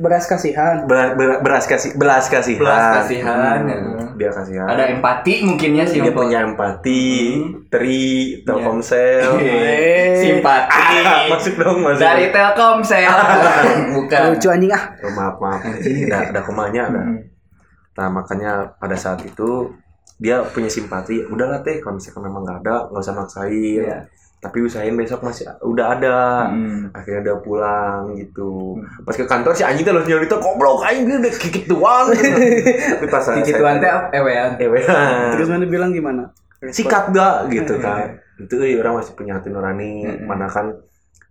[SPEAKER 2] Beras kasihan.
[SPEAKER 3] Ber- ber- beras kasih belas kasihan Hmm,
[SPEAKER 1] Belas kasihan, ya.
[SPEAKER 3] dia kasihan
[SPEAKER 1] ada empati mungkinnya sih
[SPEAKER 3] dia
[SPEAKER 1] Empok. [laughs]
[SPEAKER 3] punya empati
[SPEAKER 1] Hmm.
[SPEAKER 3] tri [laughs] telkomsel
[SPEAKER 1] Hehehe. simpati
[SPEAKER 3] Ah, masuk dong masuk
[SPEAKER 1] dari Telkomsel
[SPEAKER 3] Ah.
[SPEAKER 1] [laughs] bukan
[SPEAKER 2] Lucu anjing ah.
[SPEAKER 3] Oh, maaf maaf ada ada komanya ada
[SPEAKER 1] Hmm.
[SPEAKER 3] nah makanya pada saat itu dia punya simpati udahlah teh kalau misalkan memang nggak ada nggak usah maksain
[SPEAKER 1] Iya.
[SPEAKER 3] tapi usahain besok masih udah ada
[SPEAKER 1] Hmm.
[SPEAKER 3] akhirnya udah pulang gitu pas ke kantor si anjing teh langsung nyari tuh goblok anjing dia udah kikit doang
[SPEAKER 1] [laughs]
[SPEAKER 3] gitu. tapi pas saya-
[SPEAKER 1] Dikit tuan teh eh, ya. ewean
[SPEAKER 3] Ewean.
[SPEAKER 2] Terus mana bilang gimana?
[SPEAKER 3] sikat gak gitu
[SPEAKER 1] Hmm.
[SPEAKER 3] kan itu eh, orang masih punya hati nurani
[SPEAKER 1] Mm-mm.
[SPEAKER 3] mana kan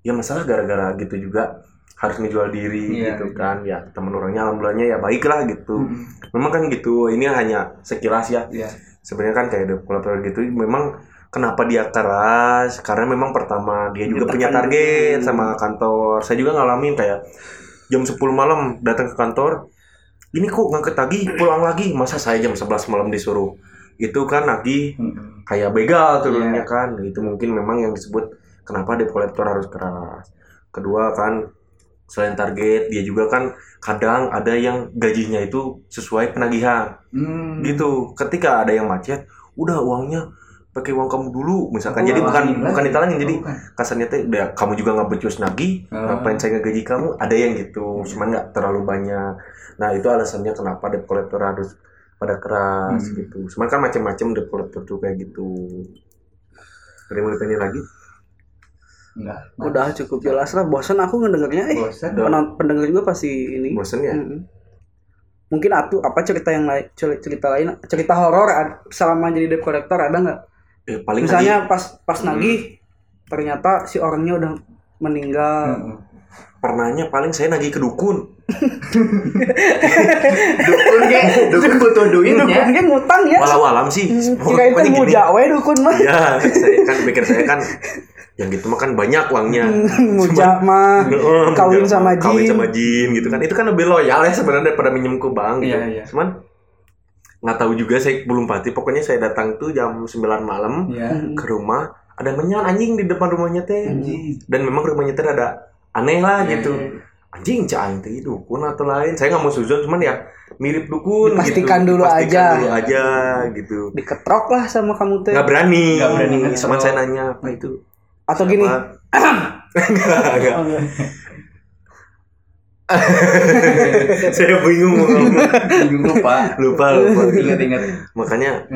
[SPEAKER 3] ya masalah gara-gara gitu juga harus ngejual diri
[SPEAKER 1] Iya. Hmm.
[SPEAKER 3] gitu kan ya teman orangnya alhamdulillahnya ya baik lah gitu memang kan gitu ini hanya sekilas ya
[SPEAKER 1] Iya.
[SPEAKER 3] sebenarnya kan kayak udah kolaborator gitu memang kenapa dia keras karena memang pertama dia juga
[SPEAKER 2] Dia
[SPEAKER 3] punya
[SPEAKER 2] tertekan
[SPEAKER 3] target
[SPEAKER 2] dulu.
[SPEAKER 3] sama kantor saya juga ngalamin kayak jam 10 malam datang ke kantor ini kok ngangkat lagi pulang lagi masa saya jam 11 malam disuruh itu kan lagi
[SPEAKER 1] Mm-mm.
[SPEAKER 3] kayak begal turunnya kan itu mungkin memang yang disebut kenapa debt collector harus keras kedua kan selain target dia juga kan kadang ada yang gajinya itu sesuai penagihan
[SPEAKER 1] Hmm.
[SPEAKER 3] gitu ketika ada yang macet udah uangnya pakai uang kamu dulu misalkan jadi
[SPEAKER 1] Oh,
[SPEAKER 3] bukan
[SPEAKER 1] iya.
[SPEAKER 3] bukan ditalangin jadi
[SPEAKER 1] Bukan.
[SPEAKER 3] kasarnya teh udah kamu juga nggak becus lagi
[SPEAKER 1] Ah. Hmm.
[SPEAKER 3] ngapain saya ngegaji kamu ada yang gitu cuman nggak terlalu banyak nah itu alasannya kenapa debt collector harus pada keras
[SPEAKER 1] Hmm.
[SPEAKER 3] gitu cuman kan macam-macam debt collector tuh kayak gitu ada yang mau ditanya lagi
[SPEAKER 1] Enggak.
[SPEAKER 3] Iya.
[SPEAKER 2] Udah cukup jelas lah. Bosan aku ngedengarnya. Eh,
[SPEAKER 1] bosan
[SPEAKER 3] Udah.
[SPEAKER 2] penonton pendengar juga pasti ini.
[SPEAKER 3] bosen
[SPEAKER 1] Hmm.
[SPEAKER 3] ya
[SPEAKER 2] Mm-mm. Mungkin atu apa cerita yang lain cer- cerita lain cerita horor ad- selama jadi debt collector ada nggak?
[SPEAKER 3] Eh, paling
[SPEAKER 2] Misalnya pas pas
[SPEAKER 3] Hmm.
[SPEAKER 2] nagih ternyata si orangnya udah
[SPEAKER 3] Hmm.
[SPEAKER 2] meninggal.
[SPEAKER 1] Mm-mm.
[SPEAKER 3] tadi, pernahnya paling saya nagih ke dukun
[SPEAKER 1] dukun ge dukun butuh duitnya
[SPEAKER 2] Dukun kan ngutang ya.
[SPEAKER 3] Iya. walau alam
[SPEAKER 1] Hmm.
[SPEAKER 3] sih
[SPEAKER 2] Kira itu
[SPEAKER 3] Pokoknya gini.
[SPEAKER 2] muda we dukun mah.
[SPEAKER 3] ya saya kan pikir saya kan yang gitu mah kan banyak uangnya
[SPEAKER 2] [laughs] Muda
[SPEAKER 3] [laughs]
[SPEAKER 2] mah
[SPEAKER 3] Heeh,
[SPEAKER 2] Hmm, kawin
[SPEAKER 3] bener.
[SPEAKER 2] sama
[SPEAKER 3] Iya, kawin
[SPEAKER 2] jin.
[SPEAKER 3] sama jin gitu kan itu kan lebih loyal ya sebenarnya daripada minjem ke bank gitu
[SPEAKER 1] Iya, iya.
[SPEAKER 3] cuman nggak tahu juga saya belum pasti pokoknya saya datang tuh jam 9 malam [laughs]
[SPEAKER 1] ya
[SPEAKER 3] ke rumah ada menyan anjing di depan rumahnya teh
[SPEAKER 2] Hmm.
[SPEAKER 1] Anjing.
[SPEAKER 3] dan memang rumahnya teh ada aneh lah
[SPEAKER 1] Iya,
[SPEAKER 3] gitu
[SPEAKER 1] iya,
[SPEAKER 3] anjing cah aing teh dukun atau lain saya nggak mau suzon cuman ya mirip dukun
[SPEAKER 2] Dipastikan
[SPEAKER 3] gitu
[SPEAKER 2] dulu
[SPEAKER 3] Dipastikan
[SPEAKER 2] aja.
[SPEAKER 3] dulu aja gitu
[SPEAKER 2] diketrok lah sama kamu teh.
[SPEAKER 3] nggak berani
[SPEAKER 1] Nggak berani,
[SPEAKER 3] cuman
[SPEAKER 1] nggak.
[SPEAKER 3] saya nanya apa itu
[SPEAKER 2] Atau gini.
[SPEAKER 3] Apa? Nggak, nggak.
[SPEAKER 2] Oh, enggak.
[SPEAKER 3] saya bingung mau ngomong.
[SPEAKER 1] Bingung Hmm. lupa
[SPEAKER 3] lupa lupa
[SPEAKER 1] ingat ingat
[SPEAKER 3] makanya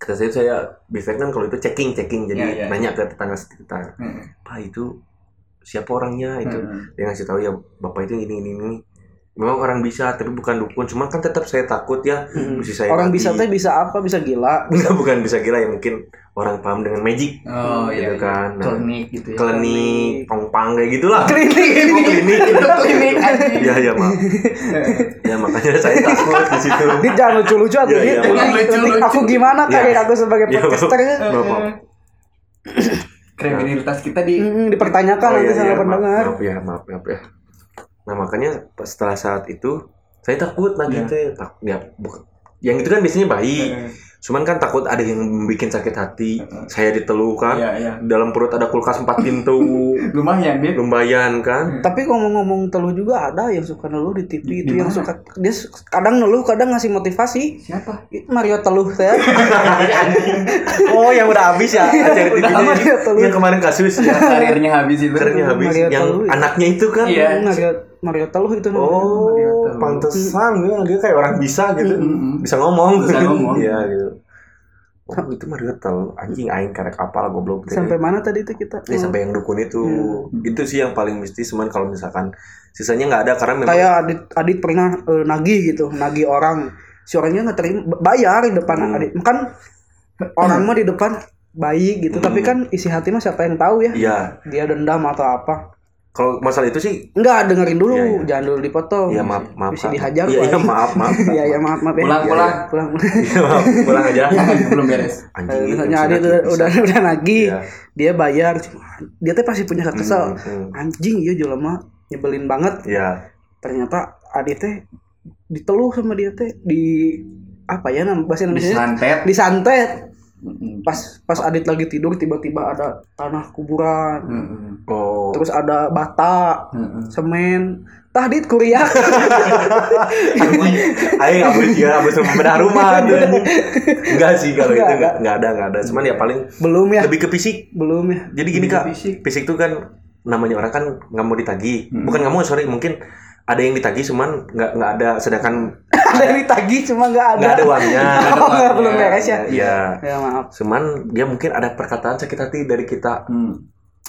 [SPEAKER 3] kata saya saya biasanya kan kalau itu checking checking
[SPEAKER 1] Iya, iya.
[SPEAKER 3] jadi nanya ke tetangga sekitar
[SPEAKER 1] Hmm.
[SPEAKER 3] pak itu siapa orangnya itu dia ngasih tahu ya bapak itu ini ini ini memang orang bisa tapi bukan dukun cuman kan tetap saya takut ya
[SPEAKER 2] Hmm.
[SPEAKER 3] mesti saya
[SPEAKER 2] Orang
[SPEAKER 3] mati.
[SPEAKER 2] bisa teh bisa apa? Bisa gila.
[SPEAKER 3] Enggak, bukan [laughs] bisa kira ya mungkin orang paham dengan magic
[SPEAKER 1] oh iya iya.
[SPEAKER 3] gitu kan nah,
[SPEAKER 1] klinik gitu ya
[SPEAKER 3] klinik pongpang kayak gitulah
[SPEAKER 2] Klinik.
[SPEAKER 3] Oh, klinik
[SPEAKER 1] itu klinik anjing.
[SPEAKER 3] ya ya maaf
[SPEAKER 1] [laughs]
[SPEAKER 3] ya makanya saya takut di situ
[SPEAKER 2] Dit jangan lucu-lucu atuh
[SPEAKER 3] Iya,
[SPEAKER 2] Dit.
[SPEAKER 3] iya,
[SPEAKER 2] Nanti-
[SPEAKER 1] lucu,
[SPEAKER 2] nanti
[SPEAKER 1] lucu.
[SPEAKER 2] Aku gimana
[SPEAKER 3] Iya.
[SPEAKER 2] karir aku sebagai
[SPEAKER 3] Iya,
[SPEAKER 2] podcaster ya?
[SPEAKER 3] Maaf, maaf.
[SPEAKER 1] Eh, kredibilitas kita di
[SPEAKER 2] Mm, dipertanyakan
[SPEAKER 3] Oh,
[SPEAKER 2] nanti
[SPEAKER 3] iya,
[SPEAKER 2] sama
[SPEAKER 3] iya, maaf,
[SPEAKER 2] pendengar.
[SPEAKER 3] Maaf, ya, maaf, maaf ya. Nah makanya pas- setelah saat itu saya takut lagi
[SPEAKER 1] Iya.
[SPEAKER 3] teh tak ya bukan. Yang itu kan biasanya baik,
[SPEAKER 1] Heeh.
[SPEAKER 3] cuman kan takut ada yang bikin sakit hati.
[SPEAKER 1] Heeh.
[SPEAKER 3] Saya diteluh kan,
[SPEAKER 1] iya iya
[SPEAKER 3] dalam perut ada kulkas empat pintu,
[SPEAKER 1] lumayan dia
[SPEAKER 3] lumayan kan.
[SPEAKER 2] Tapi ngomong-ngomong teluh juga ada yang suka neluh di TV itu
[SPEAKER 1] Di
[SPEAKER 2] yang
[SPEAKER 1] mana?
[SPEAKER 2] suka dia su- kadang neluh kadang ngasih motivasi.
[SPEAKER 1] siapa
[SPEAKER 2] Mario teluh
[SPEAKER 3] [laughs]
[SPEAKER 2] teh.
[SPEAKER 3] oh yang udah habis ya acara TV
[SPEAKER 2] Udah habis ya, teluh.
[SPEAKER 3] yang kemarin kasus ya.
[SPEAKER 1] karirnya habis itu
[SPEAKER 3] Acaranya habis,
[SPEAKER 2] Maria
[SPEAKER 3] yang
[SPEAKER 2] teluh ya.
[SPEAKER 3] anaknya itu kan.
[SPEAKER 1] Iya.
[SPEAKER 2] Mario Mario teluh itu namanya.
[SPEAKER 3] Oh,
[SPEAKER 1] Maria teluh.
[SPEAKER 3] pantesan ya dia kayak orang bisa gitu,
[SPEAKER 1] Mm-mm.
[SPEAKER 3] bisa ngomong.
[SPEAKER 1] Bisa ngomong.
[SPEAKER 3] Iya gitu. Oh, itu Mario Tel, anjing aing karek apal goblok.
[SPEAKER 2] Sampai Iya. mana tadi itu kita?
[SPEAKER 3] Ya, sampai yang dukun itu. Itu sih yang paling mistis cuman kalau misalkan sisanya nggak ada karena memang
[SPEAKER 2] Kayak Adit Adit pernah eh, nagih gitu, nagih orang. Si orangnya nggak terima bayar di depan
[SPEAKER 3] Hmm.
[SPEAKER 2] Adit. Kan orang mah di depan baik gitu, tapi kan isi hati mah siapa yang tahu ya?
[SPEAKER 3] Hmm. Iya.
[SPEAKER 2] Dia dendam atau apa?
[SPEAKER 3] Kalau masalah itu sih
[SPEAKER 2] Enggak, dengerin dulu,
[SPEAKER 3] Iya, iya.
[SPEAKER 2] jangan dulu dipotong.
[SPEAKER 3] ya maaf maaf.
[SPEAKER 2] Oh, Bisa
[SPEAKER 3] Kak.
[SPEAKER 2] dihajar
[SPEAKER 3] Iya,
[SPEAKER 2] Pak.
[SPEAKER 3] iya maaf maaf.
[SPEAKER 2] [laughs] Iya, iya, maaf, maaf ya.
[SPEAKER 1] pulang
[SPEAKER 2] Iya,
[SPEAKER 1] pulang
[SPEAKER 2] iya.
[SPEAKER 3] [laughs]
[SPEAKER 2] Pulang. [laughs]
[SPEAKER 3] Iya, maaf. Pulang aja.
[SPEAKER 1] belum beres
[SPEAKER 2] Eh,
[SPEAKER 3] Anjing.
[SPEAKER 2] Misalnya
[SPEAKER 3] yang
[SPEAKER 2] Adit
[SPEAKER 3] sunat
[SPEAKER 2] udah,
[SPEAKER 3] bisa.
[SPEAKER 2] udah udah nagih,
[SPEAKER 3] Iya.
[SPEAKER 2] dia bayar. Cuma Dia tuh pasti punya kesel.
[SPEAKER 3] Hmm, hmm.
[SPEAKER 2] Anjing, iya jelema nyebelin banget.
[SPEAKER 3] Iya.
[SPEAKER 2] ternyata Adi teh diteluh sama dia teh di apa ya nama bahasa Indonesia
[SPEAKER 1] disantet
[SPEAKER 2] disantet
[SPEAKER 1] Mm-mm.
[SPEAKER 2] pas pas Adit lagi tidur tiba-tiba ada tanah kuburan
[SPEAKER 1] Mm-mm.
[SPEAKER 3] Oh.
[SPEAKER 2] terus ada bata
[SPEAKER 1] Mm-mm.
[SPEAKER 2] semen tah Dit
[SPEAKER 3] [laughs]
[SPEAKER 2] kuriak
[SPEAKER 3] Aing nggak boleh dia
[SPEAKER 2] [laughs]
[SPEAKER 3] abis bedah rumah tuh. Enggak sih kalau itu
[SPEAKER 2] Nggak,
[SPEAKER 3] nggak nggak ada nggak ada. Cuman ya paling
[SPEAKER 2] belum ya
[SPEAKER 3] lebih ke fisik.
[SPEAKER 2] belum ya [laughs]
[SPEAKER 3] Jadi gini
[SPEAKER 1] Lebih ke
[SPEAKER 3] kak,
[SPEAKER 1] fisik.
[SPEAKER 3] fisik tuh kan namanya orang kan nggak mau ditagih.
[SPEAKER 1] Hmm.
[SPEAKER 3] Bukan nggak mau sorry mungkin ada yang ditagih cuman nagih, nggak nggak ada. Sedangkan
[SPEAKER 2] ada yang ditagih cuma nggak ada
[SPEAKER 3] nggak ada uangnya.
[SPEAKER 2] Oh, nggak, belum beres ya
[SPEAKER 3] Iya.
[SPEAKER 2] ya maaf
[SPEAKER 3] Cuman dia mungkin ada perkataan sakit hati dari kita.
[SPEAKER 1] Mm.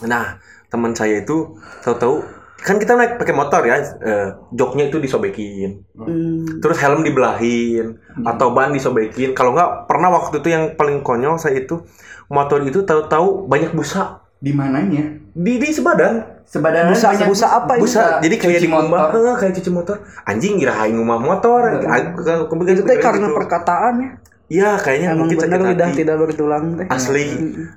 [SPEAKER 3] Nah teman saya itu tahu-tahu kan kita naik pakai motor ya, eh, joknya itu disobekin.
[SPEAKER 2] Hmm.
[SPEAKER 3] terus helm dibelahin atau ban disobekin kalau nggak pernah waktu itu yang paling konyol saya itu motor itu tahu-tahu banyak busa
[SPEAKER 1] di mananya
[SPEAKER 3] di di sebadan
[SPEAKER 1] sebadaran
[SPEAKER 2] Busa- busa apa itu?
[SPEAKER 3] busa jadi kayak
[SPEAKER 1] cuci
[SPEAKER 3] di
[SPEAKER 1] motor
[SPEAKER 3] motor eh, kayak cuci motor anjing ngirain rumah motor kan
[SPEAKER 1] Hmm.
[SPEAKER 2] itu
[SPEAKER 3] kemudian
[SPEAKER 2] teh karena perkataan ya
[SPEAKER 3] gitu. iya kayaknya
[SPEAKER 2] emang
[SPEAKER 3] mungkin
[SPEAKER 2] benar
[SPEAKER 3] sakit
[SPEAKER 2] lidah
[SPEAKER 3] hati
[SPEAKER 2] tidak bertulang teh
[SPEAKER 3] asli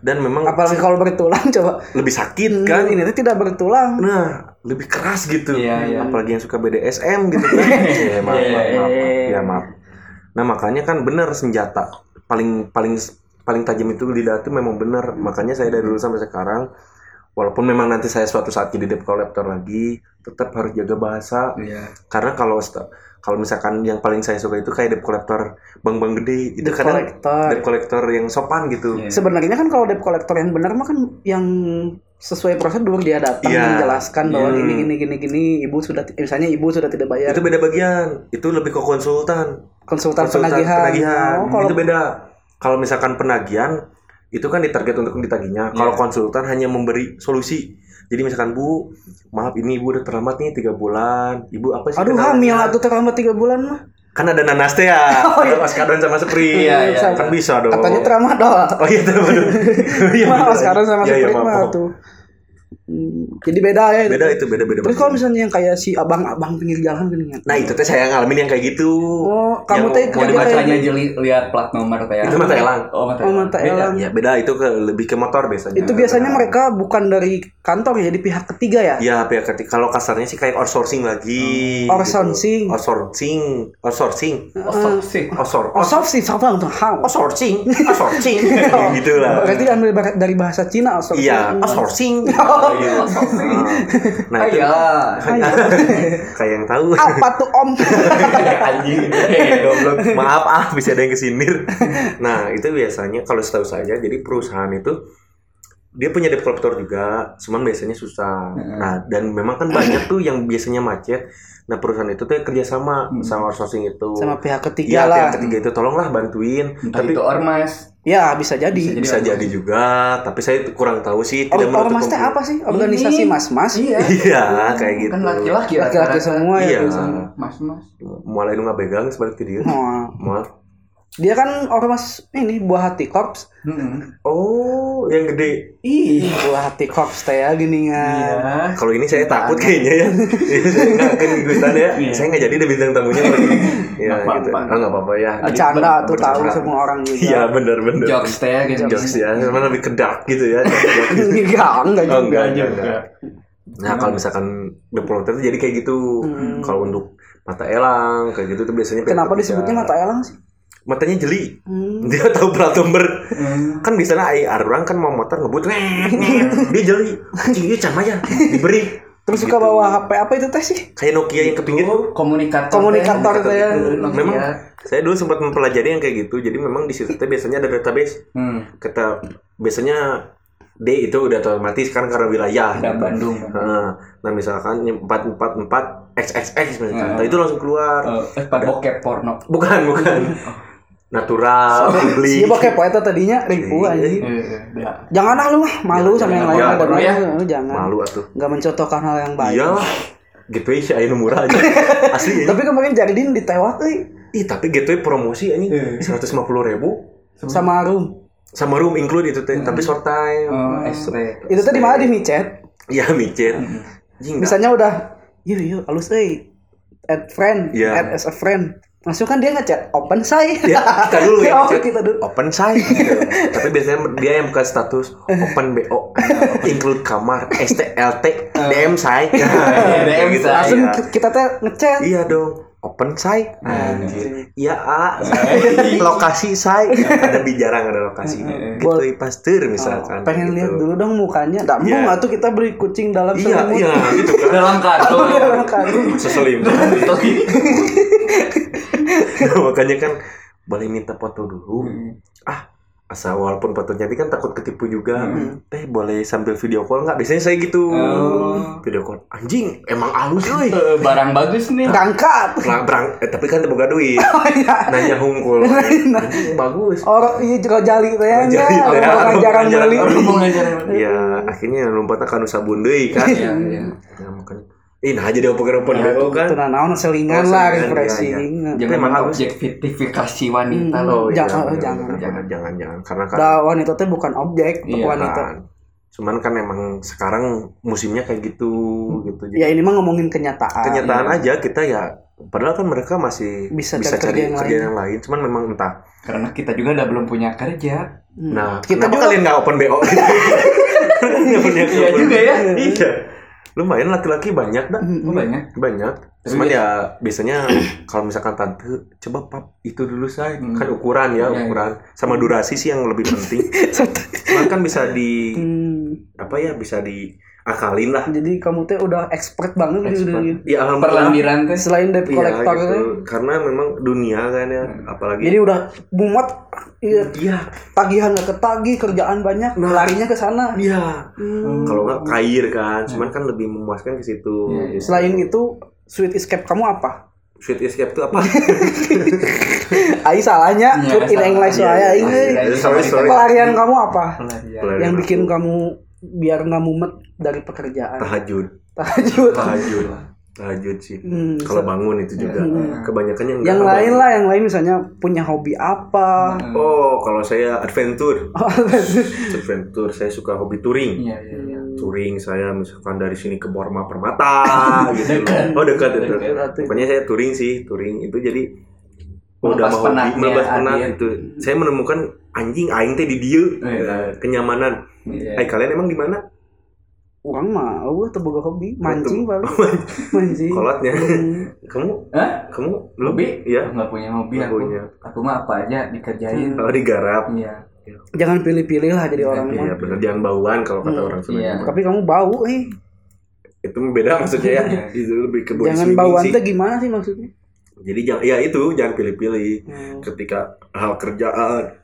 [SPEAKER 3] dan memang
[SPEAKER 2] apalagi kalau bertulang [laughs] coba
[SPEAKER 3] lebih sakit
[SPEAKER 2] kan
[SPEAKER 3] kan
[SPEAKER 2] ini teh tidak bertulang
[SPEAKER 3] nah lebih keras gitu
[SPEAKER 1] Iya, iya.
[SPEAKER 3] apalagi yang suka BDSM
[SPEAKER 1] [laughs]
[SPEAKER 3] gitu kan ya maaf
[SPEAKER 1] Iya, iya,
[SPEAKER 3] maaf, maaf,
[SPEAKER 1] iya, iya.
[SPEAKER 3] Ya, maaf. nah makanya kan bener senjata paling paling paling tajam itu lidah itu memang bener makanya saya dari dulu sampai sekarang walaupun memang nanti saya suatu saat jadi debt collector lagi tetap harus jaga bahasa
[SPEAKER 1] Iya.
[SPEAKER 3] karena kalau sta- kalau misalkan yang paling saya suka itu kayak debt collector bank-bank gede itu
[SPEAKER 2] Debt
[SPEAKER 3] kadang
[SPEAKER 2] collector.
[SPEAKER 3] debt collector yang sopan gitu
[SPEAKER 1] Iya.
[SPEAKER 2] sebenarnya kan kalau debt collector yang benar mah kan yang sesuai prosedur dia datang
[SPEAKER 3] Iya.
[SPEAKER 2] menjelaskan bahwa
[SPEAKER 3] Hmm.
[SPEAKER 2] gini gini gini gini ibu sudah ti- misalnya ibu sudah tidak bayar
[SPEAKER 3] itu beda bagian itu lebih ke konsultan
[SPEAKER 2] Iya. konsultan,
[SPEAKER 3] Konsultan
[SPEAKER 2] penagihan,
[SPEAKER 3] penagihan.
[SPEAKER 2] Oh, kalau
[SPEAKER 3] itu beda kalau misalkan penagihan itu kan ditarget untuk
[SPEAKER 2] Iya.
[SPEAKER 3] ditagihnya kalau konsultan hanya memberi solusi jadi misalkan bu maaf ini ibu udah terlambat nih tiga bulan ibu apa sih
[SPEAKER 2] aduh
[SPEAKER 3] kendalanya?"
[SPEAKER 2] hamil Oh, atau terlambat tiga bulan mah
[SPEAKER 3] kan ada nanas teh ya
[SPEAKER 2] [laughs] iya.
[SPEAKER 3] ada oskadon sama sprint
[SPEAKER 1] Iya, iya,
[SPEAKER 3] kan bisa dong
[SPEAKER 2] katanya terlambat doang
[SPEAKER 3] oh iya
[SPEAKER 2] [laughs]
[SPEAKER 3] tuh bener. [laughs] Iya,
[SPEAKER 2] Mah,
[SPEAKER 3] bener.
[SPEAKER 2] sekarang sama
[SPEAKER 3] Iya, iya,
[SPEAKER 2] Sprite
[SPEAKER 3] maaf,
[SPEAKER 2] mah
[SPEAKER 3] maaf.
[SPEAKER 2] tuh Hmm, jadi beda ya itu.
[SPEAKER 3] beda itu iya, beda beda
[SPEAKER 2] terus kalau misalnya yang kayak si abang-abang pinggir jalan gini kan
[SPEAKER 3] nah itu teh saya ngalamin yang kayak gitu
[SPEAKER 2] Oh, kamu
[SPEAKER 3] Yang
[SPEAKER 2] teh
[SPEAKER 1] Mau
[SPEAKER 2] Kerja
[SPEAKER 1] dibacanya
[SPEAKER 2] kayak-
[SPEAKER 1] jeli lihat plat nomor teh.
[SPEAKER 3] Itu mata elang.
[SPEAKER 1] Oh, mata
[SPEAKER 2] Oh,
[SPEAKER 1] elang.
[SPEAKER 2] mata
[SPEAKER 1] Beda.
[SPEAKER 2] elang.
[SPEAKER 3] ya beda itu ke lebih ke motor biasanya
[SPEAKER 2] itu biasanya mereka bukan dari kantor ya, di pihak ketiga ya.
[SPEAKER 3] Ya, pihak ketika kalau kasarnya sih kayak outsourcing lagi.
[SPEAKER 2] Hmm. Outsourcing.
[SPEAKER 3] Gitu. Outsourcing, outsourcing,
[SPEAKER 2] eh.
[SPEAKER 1] Oh, sok sih.
[SPEAKER 3] outsour,
[SPEAKER 2] Oh, soft sih, soft langsung hang.
[SPEAKER 3] outsourcing,
[SPEAKER 2] [laughs]
[SPEAKER 3] outsourcing,
[SPEAKER 2] Oh.
[SPEAKER 3] gitu lah.
[SPEAKER 2] Berarti ambil bar- dari bahasa Cina soft.
[SPEAKER 3] Iya,
[SPEAKER 2] Hmm. [laughs]
[SPEAKER 3] outsourcing. Iya. Nah, itu
[SPEAKER 1] Iya.
[SPEAKER 3] [laughs] kayak yang tahu.
[SPEAKER 2] Apa tuh Ah,
[SPEAKER 3] [laughs]
[SPEAKER 2] om?
[SPEAKER 1] Iya, Anjing.
[SPEAKER 3] Iya,
[SPEAKER 1] Eh, Goblok.
[SPEAKER 3] Maaf ah, bisa ada yang kesindir. Nah, itu biasanya kalau setahu saya, jadi perusahaan itu dia punya debt collector juga, cuman biasanya susah.
[SPEAKER 1] Heeh.
[SPEAKER 3] Nah, dan memang kan banyak tuh yang biasanya macet. Nah, perusahaan itu tuh kerjasama
[SPEAKER 1] Hmm.
[SPEAKER 3] sama outsourcing itu.
[SPEAKER 2] Sama pihak ketiga
[SPEAKER 3] Iya,
[SPEAKER 2] lah.
[SPEAKER 3] pihak ketiga itu tolonglah bantuin.
[SPEAKER 1] Entah
[SPEAKER 3] tapi
[SPEAKER 1] itu ormas.
[SPEAKER 2] Ya, bisa jadi.
[SPEAKER 1] Bisa
[SPEAKER 3] bisa jadi juga, tapi saya kurang tahu sih.
[SPEAKER 2] Or-
[SPEAKER 3] menutup
[SPEAKER 2] Ormas teh
[SPEAKER 3] kemungkinan.
[SPEAKER 2] apa ya? sih? Organisasi
[SPEAKER 1] Ini.
[SPEAKER 2] mas-mas.
[SPEAKER 1] Iya.
[SPEAKER 3] Iya, kayak gitu.
[SPEAKER 1] Kan laki-laki
[SPEAKER 2] Laki-laki semua
[SPEAKER 3] Iya.
[SPEAKER 2] ya.
[SPEAKER 1] Mas-mas.
[SPEAKER 3] Mulai lu nggak pegang sebalik ke dia.
[SPEAKER 2] Wah.
[SPEAKER 3] Mual.
[SPEAKER 2] Dia kan ormas ini buah hati korps.
[SPEAKER 1] Mm-mm.
[SPEAKER 3] Oh, yang gede.
[SPEAKER 1] Ih.
[SPEAKER 3] Iya.
[SPEAKER 2] Buah hati korps teh ya gini kan.
[SPEAKER 1] Iya.
[SPEAKER 3] Kalau ini saya takut
[SPEAKER 2] [laughs]
[SPEAKER 3] kayaknya ya. Iya, saya nggak akan ikutan ya.
[SPEAKER 1] Iya.
[SPEAKER 3] Saya nggak jadi deh bintang tamunya kalau ini. Ya
[SPEAKER 1] Nggak
[SPEAKER 3] gitu.
[SPEAKER 1] apa-apa.
[SPEAKER 3] Oh, nggak apa-apa ya.
[SPEAKER 2] Bercanda tuh tahu
[SPEAKER 3] bercanda.
[SPEAKER 2] semua orang juga.
[SPEAKER 3] Iya, benar benar.
[SPEAKER 1] Jokes teh gitu.
[SPEAKER 3] Jokes ya, cuman lebih kedak gitu ya.
[SPEAKER 2] [laughs] Enggak, enggak juga.
[SPEAKER 3] Oh, enggak, enggak,
[SPEAKER 1] juga.
[SPEAKER 3] enggak. Nah, kalau misalkan the promoter tuh jadi kayak gitu. Kalau untuk mata elang kayak gitu tuh biasanya kayak
[SPEAKER 2] Hmm. Kenapa
[SPEAKER 3] ketiga.
[SPEAKER 2] disebutnya mata elang sih?
[SPEAKER 3] matanya jeli? [laughs]
[SPEAKER 2] Hmm.
[SPEAKER 3] Dia tahu plat nomor.
[SPEAKER 1] Hmm.
[SPEAKER 3] Kan biasanya IR orang kan mau motor ngebut. [laughs] dia jeli. Anjing dia cam aja diberi.
[SPEAKER 2] Terus suka
[SPEAKER 3] Gitu.
[SPEAKER 2] bawa HP apa itu teh sih?
[SPEAKER 3] kayak Nokia yang ke pinggir
[SPEAKER 2] Oh.
[SPEAKER 1] Itu komunikator.
[SPEAKER 2] Komunikator
[SPEAKER 1] teh.
[SPEAKER 2] teh ya.
[SPEAKER 1] Gitu, Nokia.
[SPEAKER 3] memang saya dulu sempat mempelajari yang kayak gitu jadi memang di situ teh biasanya ada database
[SPEAKER 1] Hmm.
[SPEAKER 3] kata biasanya D itu udah otomatis kan karena wilayah
[SPEAKER 1] Ada
[SPEAKER 3] gitu.
[SPEAKER 1] Bandung.
[SPEAKER 3] Nah, nah misalkan empat empat empat XXX misalkan,
[SPEAKER 1] Ya.
[SPEAKER 3] Nah, itu langsung keluar.
[SPEAKER 1] Eh, eh, bokep porno.
[SPEAKER 3] Bukan bukan.
[SPEAKER 2] Si
[SPEAKER 3] Natural, publik.
[SPEAKER 2] bokep poeta tadinya ribu anjing.
[SPEAKER 1] Iya.
[SPEAKER 2] Jangan ah lu mah malu sama yang lain
[SPEAKER 3] Ya, jangan,
[SPEAKER 2] ada
[SPEAKER 1] jangan,
[SPEAKER 2] ya.
[SPEAKER 1] ya.
[SPEAKER 2] jangan.
[SPEAKER 3] Malu atuh.
[SPEAKER 2] Enggak mencontohkan hal yang baik.
[SPEAKER 3] Iyalah. Gateway sih ayeuna murah aja. Asli ya.
[SPEAKER 2] Tapi kemarin Jardin ditewak euy
[SPEAKER 3] Ih, tapi gateway promosi anjing
[SPEAKER 1] Iya.
[SPEAKER 3] 150 ribu
[SPEAKER 2] sama Arum.
[SPEAKER 3] sama room include itu teh, tapi short time.
[SPEAKER 1] Oh, ST.
[SPEAKER 2] Itu tadi mana di micet?
[SPEAKER 3] Iya, micet. Anjing, nggak-
[SPEAKER 2] Misalnya udah yuk yuk alus euy. Add friend,
[SPEAKER 3] Iya.
[SPEAKER 2] add as a friend. Langsung kan dia ngechat open say.
[SPEAKER 3] Ya, kita
[SPEAKER 2] [laughs]
[SPEAKER 3] dulu
[SPEAKER 2] Oh,
[SPEAKER 3] ya, chat.
[SPEAKER 2] kita dulu.
[SPEAKER 3] open saya tapi biasanya dia yang buka status open
[SPEAKER 2] [laughs]
[SPEAKER 3] bo include kamar ST LT DM saya
[SPEAKER 2] Oh.
[SPEAKER 1] DM
[SPEAKER 3] Gitu,
[SPEAKER 2] [laughs] iya,
[SPEAKER 1] saya.
[SPEAKER 2] Langsung
[SPEAKER 3] iya.
[SPEAKER 2] kita teh ngechat. Nah,
[SPEAKER 3] iya dong open say
[SPEAKER 1] Anjir.
[SPEAKER 3] iya
[SPEAKER 2] [laughs]
[SPEAKER 3] a say. lokasi say ada bijarang ada
[SPEAKER 2] Iya,
[SPEAKER 3] lokasi gitu
[SPEAKER 2] Boleh.
[SPEAKER 3] pasteur misalkan
[SPEAKER 2] Oh, pengen
[SPEAKER 3] gitu.
[SPEAKER 2] lihat dulu dong mukanya tak
[SPEAKER 3] Iya.
[SPEAKER 2] mau nggak tuh kita beri kucing dalam
[SPEAKER 3] iya
[SPEAKER 2] selimut [laughs]
[SPEAKER 3] iya gitu kan
[SPEAKER 1] dalam
[SPEAKER 2] Iya,
[SPEAKER 1] kartu
[SPEAKER 3] seselim
[SPEAKER 1] Tapi-
[SPEAKER 3] Nah, [laughs] makanya kan boleh minta foto
[SPEAKER 2] Hmm.
[SPEAKER 3] dulu ah asal walaupun foto jadi kan takut ketipu juga teh boleh sambil video call nggak biasanya saya gitu
[SPEAKER 1] Oh.
[SPEAKER 3] video call anjing emang halus euy
[SPEAKER 1] Eh, barang bagus
[SPEAKER 3] Iya.
[SPEAKER 1] nih
[SPEAKER 2] [laughs] berangkat
[SPEAKER 3] Nah, berang, eh, tapi kan boga duit.
[SPEAKER 2] Iya.
[SPEAKER 3] Nanya hungkul. Anjing bagus.
[SPEAKER 2] orang iya juga jali itu ya
[SPEAKER 3] Rojali teh,
[SPEAKER 2] orang
[SPEAKER 3] orang
[SPEAKER 2] jarang
[SPEAKER 3] jarang
[SPEAKER 2] beli
[SPEAKER 1] Orang mau ngajarin
[SPEAKER 3] Ya, akhirnya numpatnya kan sabun deui
[SPEAKER 1] [laughs]
[SPEAKER 3] kan.
[SPEAKER 1] Iya, iya.
[SPEAKER 3] Nah, makanya ini nah jadi open-open
[SPEAKER 1] Ya,
[SPEAKER 2] itu
[SPEAKER 3] bego kan.
[SPEAKER 2] nah naon selingan
[SPEAKER 3] Oh,
[SPEAKER 2] lah
[SPEAKER 3] selingan,
[SPEAKER 2] refreshing
[SPEAKER 1] jangan
[SPEAKER 3] Memang harus.
[SPEAKER 1] mengobjektifikasi wanita
[SPEAKER 2] Hmm. Jangan,
[SPEAKER 1] loh
[SPEAKER 3] iya,
[SPEAKER 2] jangan,
[SPEAKER 3] jangan, jangan, jangan, jangan. Karena kan
[SPEAKER 2] Dah Nah, gitu. wanita teh bukan objek untuk
[SPEAKER 1] Iya,
[SPEAKER 2] wanita
[SPEAKER 3] kan. Cuman kan emang sekarang musimnya kayak gitu gitu. Jadi
[SPEAKER 2] ya ini mah ngomongin kenyataan
[SPEAKER 3] kenyataan
[SPEAKER 1] iya.
[SPEAKER 3] aja kita ya padahal kan mereka masih
[SPEAKER 2] Bisa
[SPEAKER 3] bisa,
[SPEAKER 2] cari kerjaan
[SPEAKER 3] cari kerjaan yang lain. Cuman memang entah.
[SPEAKER 1] karena kita juga udah belum punya kerja
[SPEAKER 2] Hmm.
[SPEAKER 3] Nah,
[SPEAKER 2] kita
[SPEAKER 3] kenapa
[SPEAKER 2] juga
[SPEAKER 3] kalian nggak open BO? Nggak punya
[SPEAKER 1] Iya
[SPEAKER 3] open
[SPEAKER 1] juga
[SPEAKER 3] BO.
[SPEAKER 1] ya.
[SPEAKER 3] Iya. Lumayan laki-laki banyak dah.
[SPEAKER 2] Mm-mm.
[SPEAKER 1] Oh, banyak
[SPEAKER 3] Banyak.
[SPEAKER 1] Tapi
[SPEAKER 3] Cuman
[SPEAKER 1] biasa-
[SPEAKER 3] ya biasanya kalau misalkan tante coba pap itu dulu saya
[SPEAKER 1] Hmm.
[SPEAKER 3] kan ukuran
[SPEAKER 1] Iya,
[SPEAKER 3] ya
[SPEAKER 1] iya.
[SPEAKER 3] ukuran sama durasi sih yang lebih penting.
[SPEAKER 2] Satu.
[SPEAKER 3] Cuman kan bisa di
[SPEAKER 2] Hmm.
[SPEAKER 3] apa ya bisa diakalin lah.
[SPEAKER 2] jadi kamu teh udah expert banget di
[SPEAKER 1] Expert.
[SPEAKER 2] dunia
[SPEAKER 3] Ya alhamdulillah.
[SPEAKER 1] perlambiran teh
[SPEAKER 2] selain debt
[SPEAKER 3] Iya,
[SPEAKER 2] collector
[SPEAKER 3] gitu.
[SPEAKER 2] teh.
[SPEAKER 3] Karena memang dunia kan ya apalagi
[SPEAKER 2] jadi udah mumet iya,
[SPEAKER 3] Iya,
[SPEAKER 2] tagihan nggak ketagih kerjaan banyak
[SPEAKER 3] Nah.
[SPEAKER 2] larinya ke sana
[SPEAKER 3] iya.
[SPEAKER 2] Hmm.
[SPEAKER 3] Kalau nggak kair kan, cuman kan lebih memuaskan ke situ.
[SPEAKER 1] Iya, iya.
[SPEAKER 2] selain itu sweet escape kamu apa [laughs]
[SPEAKER 3] Sweet escape itu
[SPEAKER 1] [laughs]
[SPEAKER 3] apa?
[SPEAKER 2] Ai salahnya
[SPEAKER 1] Iya,
[SPEAKER 2] food in
[SPEAKER 1] salah.
[SPEAKER 2] English
[SPEAKER 3] Iya,
[SPEAKER 2] saya
[SPEAKER 3] iya,
[SPEAKER 2] ini
[SPEAKER 1] iya.
[SPEAKER 3] Sorry, sorry.
[SPEAKER 2] pelarian kamu apa
[SPEAKER 1] Pelarian.
[SPEAKER 2] yang bikin kamu biar nggak mumet dari [laughs] pekerjaan
[SPEAKER 3] tahajud,
[SPEAKER 2] tahajud
[SPEAKER 3] tahajud, tahajud sih.
[SPEAKER 2] Hmm,
[SPEAKER 3] Kalau
[SPEAKER 2] se-
[SPEAKER 3] bangun itu juga
[SPEAKER 1] Hmm.
[SPEAKER 3] kebanyakan yang nggak
[SPEAKER 2] yang lain
[SPEAKER 3] kebangun.
[SPEAKER 2] lah yang lain misalnya punya hobi apa
[SPEAKER 3] Oh, kalau saya
[SPEAKER 1] [laughs]
[SPEAKER 3] adventure,
[SPEAKER 2] Hmm.
[SPEAKER 3] adventure saya suka hobi touring.
[SPEAKER 1] Oh, iya iya iya
[SPEAKER 3] Touring saya misalkan dari sini ke Borma
[SPEAKER 1] [laughs]
[SPEAKER 3] Permata gitu.
[SPEAKER 1] Dekat.
[SPEAKER 3] Oh dekat itu.
[SPEAKER 1] Dekat.
[SPEAKER 3] Pokoknya saya touring sih, touring itu jadi
[SPEAKER 1] Melepas
[SPEAKER 3] udah mau
[SPEAKER 1] penatnya,
[SPEAKER 3] melepas penat
[SPEAKER 1] ya, Adit.
[SPEAKER 3] itu. Saya menemukan anjing aing teh di dieu
[SPEAKER 1] Iya.
[SPEAKER 3] Nah, kenyamanan.
[SPEAKER 1] Iya.
[SPEAKER 3] Eh kalian emang di mana?
[SPEAKER 2] orang mah oh tuh boga hobi
[SPEAKER 3] Iya,
[SPEAKER 2] mancing
[SPEAKER 3] Betul.
[SPEAKER 2] paling [laughs] mancing
[SPEAKER 3] Kolotnya. [laughs]
[SPEAKER 2] Hmm.
[SPEAKER 3] Kamu
[SPEAKER 1] Hah?
[SPEAKER 3] kamu
[SPEAKER 1] Hobi?
[SPEAKER 3] Iya.
[SPEAKER 1] nggak punya hobi
[SPEAKER 3] Nggak
[SPEAKER 1] aku
[SPEAKER 3] punya. Hmm.
[SPEAKER 1] aku mah apa aja dikerjain
[SPEAKER 3] Kalau digarap.
[SPEAKER 1] iya
[SPEAKER 2] jangan pilih-pilih lah jadi orang mah
[SPEAKER 3] Iya benar jangan bauan kalau kata orang Sunda.
[SPEAKER 1] Iya.
[SPEAKER 3] Tapi
[SPEAKER 2] tapi kamu bau eh
[SPEAKER 3] itu beda maksudnya
[SPEAKER 2] [laughs]
[SPEAKER 3] ya. itu lebih ke body
[SPEAKER 2] jangan
[SPEAKER 3] shaming
[SPEAKER 2] bauan
[SPEAKER 3] sih.
[SPEAKER 2] teh gimana sih maksudnya
[SPEAKER 3] Jadi jangan ya itu jangan pilih-pilih.
[SPEAKER 2] Hmm.
[SPEAKER 3] Ketika hal kerjaan,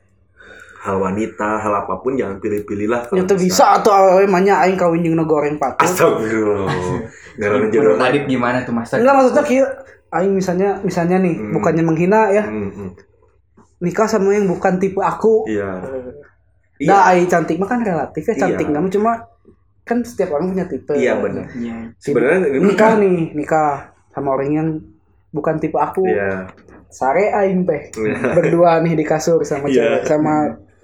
[SPEAKER 3] hal wanita, hal apapun jangan pilih-pilih lah. kalau
[SPEAKER 2] Ya tuh bisa atau awewe mah nya aing kawin jeung nu goreng patut. [laughs]
[SPEAKER 3] Astagfirullah. Ngaran
[SPEAKER 1] Menurut
[SPEAKER 3] jodoh.
[SPEAKER 2] Iya.
[SPEAKER 1] Adit gimana tuh masa
[SPEAKER 2] Enggak maksudnya kieu aing misalnya misalnya nih
[SPEAKER 3] Hmm.
[SPEAKER 2] bukannya menghina ya
[SPEAKER 3] Hmm, hmm.
[SPEAKER 2] nikah sama yang bukan tipe aku. Eh,
[SPEAKER 3] Iya. Iya.
[SPEAKER 2] Nah, aing cantik mah kan relatif ya
[SPEAKER 3] Iya.
[SPEAKER 2] cantik namun cuma kan setiap orang punya tipe.
[SPEAKER 3] Iya benar.
[SPEAKER 1] iya
[SPEAKER 3] Sebenarnya ini
[SPEAKER 2] Nikah nih, nikah sama orang yang bukan tipe aku.
[SPEAKER 3] Iya.
[SPEAKER 2] Sare aing teh.
[SPEAKER 3] Iya.
[SPEAKER 2] Berdua nih di kasur sama
[SPEAKER 3] Iya.
[SPEAKER 2] cewek sama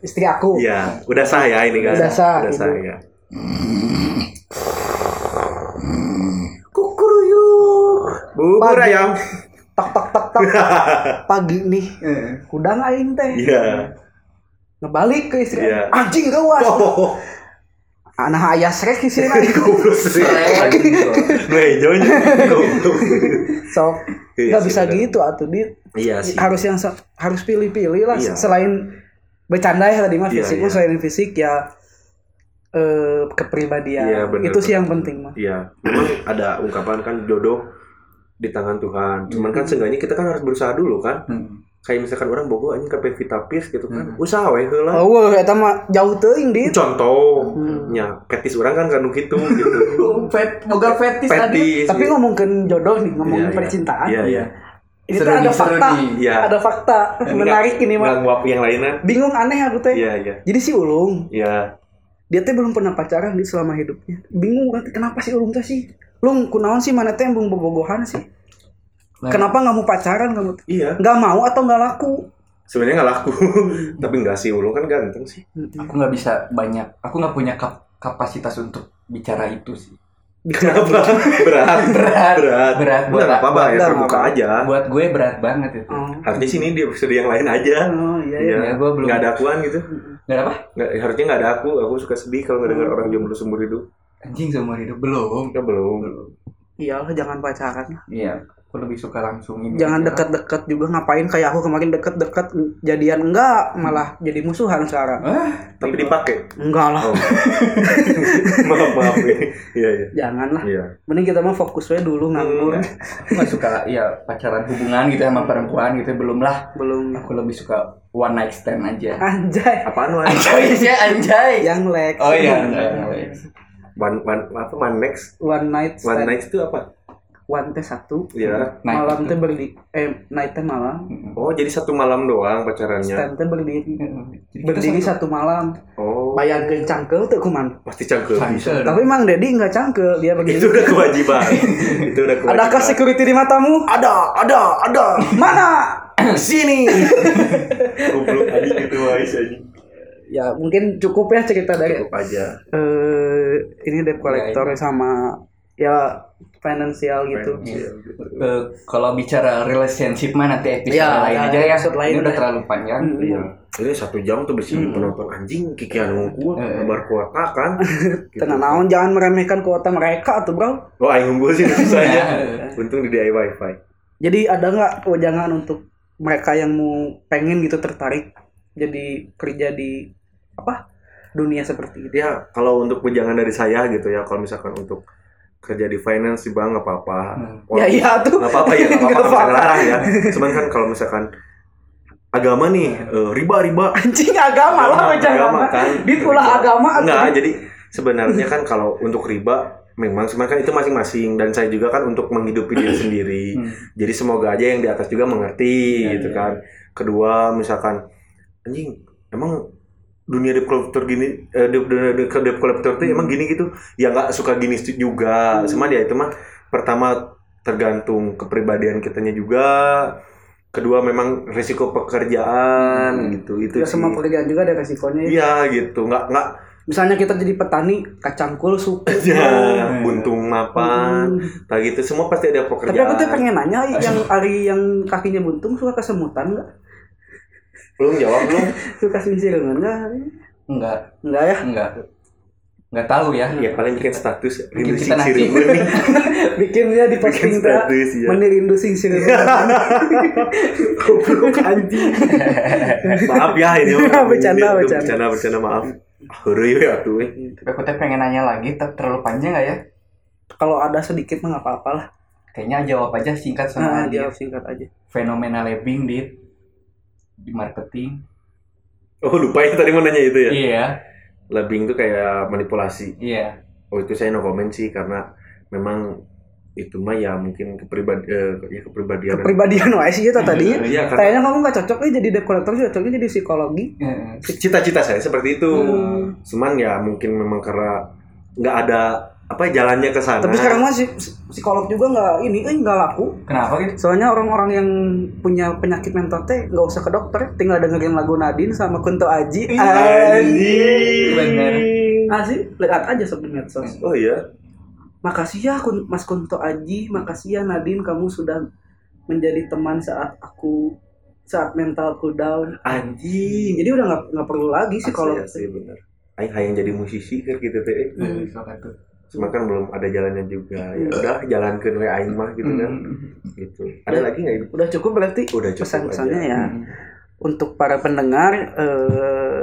[SPEAKER 2] istri aku.
[SPEAKER 3] Iya, udah sah ya ini kan.
[SPEAKER 2] Udah sah,
[SPEAKER 3] Udah
[SPEAKER 2] gitu.
[SPEAKER 3] sah ya.
[SPEAKER 2] Kukuruyuk.
[SPEAKER 3] Bubur
[SPEAKER 2] Pagi.
[SPEAKER 3] ayam.
[SPEAKER 2] Tak tak tak
[SPEAKER 3] [laughs]
[SPEAKER 2] tak. Pagi nih. Udang aing teh. [laughs]
[SPEAKER 3] Iya.
[SPEAKER 2] ngebalik ke istri
[SPEAKER 3] Iya.
[SPEAKER 2] anjing gawas
[SPEAKER 3] Oh.
[SPEAKER 2] anak ayah srek di sini
[SPEAKER 3] [laughs] Goblok sih. Nu hejonya.
[SPEAKER 2] [laughs]
[SPEAKER 3] Goblok.
[SPEAKER 2] so
[SPEAKER 3] Iya
[SPEAKER 2] nggak
[SPEAKER 3] sih,
[SPEAKER 2] bisa
[SPEAKER 3] benar.
[SPEAKER 2] gitu atuh di
[SPEAKER 3] Iya sih.
[SPEAKER 2] harus yang se- harus pilih-pilih lah
[SPEAKER 3] Iya.
[SPEAKER 2] selain bercanda ya tadi mah
[SPEAKER 3] Iya,
[SPEAKER 2] fisik mah,
[SPEAKER 3] iya.
[SPEAKER 2] selain fisik ya eh, kepribadian
[SPEAKER 3] Iya, benar,
[SPEAKER 2] itu sih
[SPEAKER 3] benar.
[SPEAKER 2] yang penting mah
[SPEAKER 3] Iya, memang ada ungkapan kan jodoh di tangan Tuhan. Cuman
[SPEAKER 2] Hmm.
[SPEAKER 3] kan seenggaknya kita kan harus berusaha dulu kan.
[SPEAKER 1] Hmm.
[SPEAKER 3] Kayak misalkan orang bogo anjing ke Pevita Pierce gitu kan. Usaha we heula.
[SPEAKER 2] Hmm. oh gitu. Hmm. wah eta mah jauh teuing di
[SPEAKER 3] Contohnya, petis orang kan kanu gitu gitu.
[SPEAKER 2] [laughs]
[SPEAKER 1] Oh, fet, boga fetis tadi.
[SPEAKER 3] petis.
[SPEAKER 2] tapi ngomongin jodoh nih ngomongin
[SPEAKER 3] Iya, iya.
[SPEAKER 2] percintaan
[SPEAKER 3] Iya, iya.
[SPEAKER 2] ini
[SPEAKER 1] Seru
[SPEAKER 2] tuh ada
[SPEAKER 1] nih, seru
[SPEAKER 2] fakta
[SPEAKER 1] nih.
[SPEAKER 3] Iya.
[SPEAKER 2] ada fakta menarik ini mah
[SPEAKER 3] Nggak nguap yang lainan.
[SPEAKER 2] bingung aneh aku teh
[SPEAKER 3] Iya, iya.
[SPEAKER 2] jadi si ulung
[SPEAKER 3] Iya.
[SPEAKER 2] dia teh belum pernah pacaran di selama hidupnya bingung kan kenapa sih ulung teh sih lung kunaon sih mana teh embung bobogohan sih
[SPEAKER 1] Lah,
[SPEAKER 3] Nah.
[SPEAKER 2] kenapa nggak mau pacaran kamu teh?
[SPEAKER 3] Iya.
[SPEAKER 2] nggak mau atau nggak laku
[SPEAKER 3] Sebenarnya nggak laku. [laughs] Tapi nggak sih ulung kan ganteng sih.
[SPEAKER 1] Aku nggak bisa banyak. Aku nggak punya kap- kapasitas untuk bicara itu sih.
[SPEAKER 2] bicara
[SPEAKER 3] Kenapa? Berat.
[SPEAKER 1] Berat.
[SPEAKER 3] Berat.
[SPEAKER 1] Berat
[SPEAKER 3] Nggak
[SPEAKER 1] buat
[SPEAKER 3] apa-apa ya
[SPEAKER 2] Nggak
[SPEAKER 3] terbuka
[SPEAKER 2] apa-apa.
[SPEAKER 3] aja.
[SPEAKER 1] buat gue berat banget itu.
[SPEAKER 2] oh,
[SPEAKER 3] Harusnya sini di episode yang lain aja.
[SPEAKER 2] oh iya, iya.
[SPEAKER 1] Ya,
[SPEAKER 3] Iya,
[SPEAKER 1] gua belum-
[SPEAKER 3] nggak ada akuan gitu.
[SPEAKER 1] Gak apa?
[SPEAKER 3] Nggak, harusnya nggak ada aku. Aku suka sedih kalau nggak dengar orang jomblo seumur hidup.
[SPEAKER 1] Anjing seumur hidup belum.
[SPEAKER 3] Ya belum.
[SPEAKER 2] iyalah jangan Iya, pacaran lah
[SPEAKER 1] Iya. aku lebih suka langsung ini gitu.
[SPEAKER 2] jangan
[SPEAKER 1] aja.
[SPEAKER 2] deket-deket juga ngapain kayak aku kemarin deket-deket jadian enggak malah jadi musuhan sekarang
[SPEAKER 1] ah,
[SPEAKER 3] Tapi dipakai. [laughs]
[SPEAKER 2] enggak lah
[SPEAKER 3] Oh. maaf maaf iya iya
[SPEAKER 2] jangan lah
[SPEAKER 3] iya
[SPEAKER 2] mending kita mah fokus aja dulu nganggur
[SPEAKER 1] aku nggak suka ya pacaran hubungan gitu sama perempuan gitu belum lah
[SPEAKER 2] belum
[SPEAKER 1] aku lebih suka one night stand aja
[SPEAKER 2] anjay
[SPEAKER 3] apaan wan
[SPEAKER 1] anjay sih anjay
[SPEAKER 2] [laughs] yang leg
[SPEAKER 1] oh iya
[SPEAKER 3] one one apa one next
[SPEAKER 2] one night
[SPEAKER 3] one
[SPEAKER 2] stand.
[SPEAKER 3] next itu apa
[SPEAKER 2] one teh satu
[SPEAKER 3] iya
[SPEAKER 1] Night.
[SPEAKER 2] malam teh berdi eh night teh malam
[SPEAKER 3] oh jadi satu malam doang pacarannya
[SPEAKER 2] stand teh berdiri
[SPEAKER 1] Jadi kita
[SPEAKER 2] berdiri
[SPEAKER 1] satu-
[SPEAKER 2] satu malam
[SPEAKER 3] oh
[SPEAKER 2] bayangkeun cangkel tuh kuman
[SPEAKER 3] pasti canggung
[SPEAKER 1] Cancel dong.
[SPEAKER 2] tapi mang Dedi nggak cangkel dia
[SPEAKER 3] itu
[SPEAKER 2] berdiri
[SPEAKER 3] udah kewajiban itu
[SPEAKER 2] [laughs]
[SPEAKER 3] udah kewajiban
[SPEAKER 2] adakah security di matamu
[SPEAKER 3] ada ada ada
[SPEAKER 2] mana
[SPEAKER 3] sini goblok tadi gitu wais aja
[SPEAKER 2] [coughs] ya mungkin cukup ya cerita dari
[SPEAKER 3] cukup Ya, aja
[SPEAKER 2] eh ini debt collector sama ya financial gitu.
[SPEAKER 3] ya,
[SPEAKER 1] Eh, kalau bicara relationship mah nanti episode
[SPEAKER 2] Iya,
[SPEAKER 1] lain
[SPEAKER 2] ada
[SPEAKER 1] aja ya
[SPEAKER 2] episode lain
[SPEAKER 1] ini udah
[SPEAKER 2] ya.
[SPEAKER 1] terlalu panjang
[SPEAKER 3] Iya. Ini satu jam
[SPEAKER 2] Hmm.
[SPEAKER 3] tuh bersihin penonton anjing kikian ngukul
[SPEAKER 1] Eh.
[SPEAKER 3] kabar kuota kan.
[SPEAKER 2] [laughs]
[SPEAKER 3] Gitu.
[SPEAKER 2] Tenang naon jangan meremehkan kuota mereka tuh bro.
[SPEAKER 3] Oh, aing unggul
[SPEAKER 2] [laughs]
[SPEAKER 3] sih susahnya.
[SPEAKER 1] Iya.
[SPEAKER 3] Untung di DIY wifi.
[SPEAKER 2] Jadi ada nggak wejangan untuk mereka yang mau pengen gitu tertarik jadi kerja di apa dunia seperti ini?
[SPEAKER 3] Ya, kalau untuk wejangan dari saya gitu ya, kalau misalkan untuk kerja di finance sih bang nggak apa-apa. Walaupun-
[SPEAKER 2] Ya iya tuh.
[SPEAKER 3] nggak apa-apa ya,
[SPEAKER 2] [laughs] Nggak
[SPEAKER 3] nggak apa-apa nggak bisa
[SPEAKER 2] apa-apa.
[SPEAKER 3] ngelarang ya. Cuman kan kalau misalkan agama nih, eh, riba riba.
[SPEAKER 2] Anjing agama lah wejangan.
[SPEAKER 3] agama kan.
[SPEAKER 2] Dit ulah
[SPEAKER 3] Riba.
[SPEAKER 2] agama atuh.
[SPEAKER 3] Enggak, jadi sebenarnya kan kalau untuk riba memang sebenarnya kan itu masing-masing dan saya juga kan untuk menghidupi diri sendiri.
[SPEAKER 1] Hmm.
[SPEAKER 3] Jadi semoga aja yang di atas juga mengerti gitu kan. Kedua misalkan anjing emang dunia debt collector gini eh, debt- dunia debt debt collector tuh emang gini gitu. Ya nggak suka gini stu- juga. Cuman ya itu mah pertama tergantung kepribadian kitanya juga. Kedua memang risiko pekerjaan
[SPEAKER 1] Hmm.
[SPEAKER 3] gitu. Itu
[SPEAKER 2] Ya, semua
[SPEAKER 3] sih.
[SPEAKER 2] pekerjaan juga ada resikonya. ya.
[SPEAKER 3] Iya gitu, nggak nggak
[SPEAKER 2] Misalnya kita jadi petani, kacangkul, suku.
[SPEAKER 3] ya, [laughs] buntung mapan, nah gitu semua pasti ada
[SPEAKER 2] Oh, hmm. Tapi aku tuh
[SPEAKER 3] pekerjaan.
[SPEAKER 2] pengen nanya yang Ari yang kakinya buntung suka kesemutan nggak?
[SPEAKER 3] Belum jawab belum?
[SPEAKER 2] Suka sinciran nggak?
[SPEAKER 1] enggak
[SPEAKER 2] Enggak ya? [laughs]
[SPEAKER 1] enggak enggak tahu ya
[SPEAKER 3] ya paling bikin status rindu
[SPEAKER 1] kita nanti.
[SPEAKER 2] [laughs]
[SPEAKER 3] sisir gue nih.
[SPEAKER 2] Bikin dia di
[SPEAKER 3] Bikin
[SPEAKER 2] posting teh
[SPEAKER 3] status ya.
[SPEAKER 2] menirindu sinciran.
[SPEAKER 3] [laughs] Goblok anjing.
[SPEAKER 2] Iya.
[SPEAKER 3] maaf ya
[SPEAKER 2] [laughs]
[SPEAKER 3] ini.
[SPEAKER 2] Bercanda,
[SPEAKER 3] Ini tuh
[SPEAKER 2] bercanda.
[SPEAKER 3] bercanda, bercanda, maaf. Hore ya tuh. eh.
[SPEAKER 1] tapi aku teh pengen nanya lagi ter- terlalu panjang nggak ya
[SPEAKER 2] Kalau ada sedikit mah nggak apa-apa lah.
[SPEAKER 1] kayaknya jawab aja singkat
[SPEAKER 2] Nah,
[SPEAKER 1] sama dia
[SPEAKER 2] dia singkat aja.
[SPEAKER 1] fenomena labing di di marketing
[SPEAKER 3] Oh lupa ya tadi mau nanya itu ya.
[SPEAKER 1] iya
[SPEAKER 3] Labing tuh kayak manipulasi.
[SPEAKER 1] iya
[SPEAKER 3] Oh itu saya no comment sih karena memang itu mah ya mungkin kepribadi eh, ya kepribadian.
[SPEAKER 2] Kepribadian wae sih itu tadinya.
[SPEAKER 3] Iya karena
[SPEAKER 2] Kayaknya kamu nggak cocok nih jadi debt collector, cocoknya jadi psikologi.
[SPEAKER 3] Iya.
[SPEAKER 1] Eh,
[SPEAKER 3] cita-cita saya seperti itu.
[SPEAKER 2] Hmm.
[SPEAKER 3] Cuman ya mungkin memang karena nggak ada apa ya, jalannya ke sana.
[SPEAKER 2] Tapi sekarang masih psikolog juga nggak ini, eh nggak laku.
[SPEAKER 1] kenapa gitu
[SPEAKER 2] Soalnya orang-orang yang punya penyakit mental teh nggak usah ke dokter, tinggal dengerin lagu Nadine sama Kunto Aji.
[SPEAKER 3] Iya, Anjing.
[SPEAKER 1] Bener.
[SPEAKER 2] Aji, lihat aja sebenarnya medsos.
[SPEAKER 3] Oh iya.
[SPEAKER 2] Makasih ya Kun- Mas Kunto Aji, makasih ya Nadine kamu sudah menjadi teman saat aku saat mentalku down.
[SPEAKER 3] Anjing.
[SPEAKER 2] Jadi udah nggak nggak perlu lagi sih kalau Iya.
[SPEAKER 3] Asli, asli, bener. Aing hayang jadi musisi kan gitu teh.
[SPEAKER 2] Hmm.
[SPEAKER 1] Eh, soal itu.
[SPEAKER 3] Cuma kan belum ada jalannya juga. Ya udah jalankeun we aing mah gitu kan. Gitu. Ada lagi nggak itu?
[SPEAKER 2] udah cukup berarti
[SPEAKER 3] Udah cukup
[SPEAKER 2] Hmm. pesan-pesannya
[SPEAKER 3] aja.
[SPEAKER 2] ya. Untuk para pendengar eh,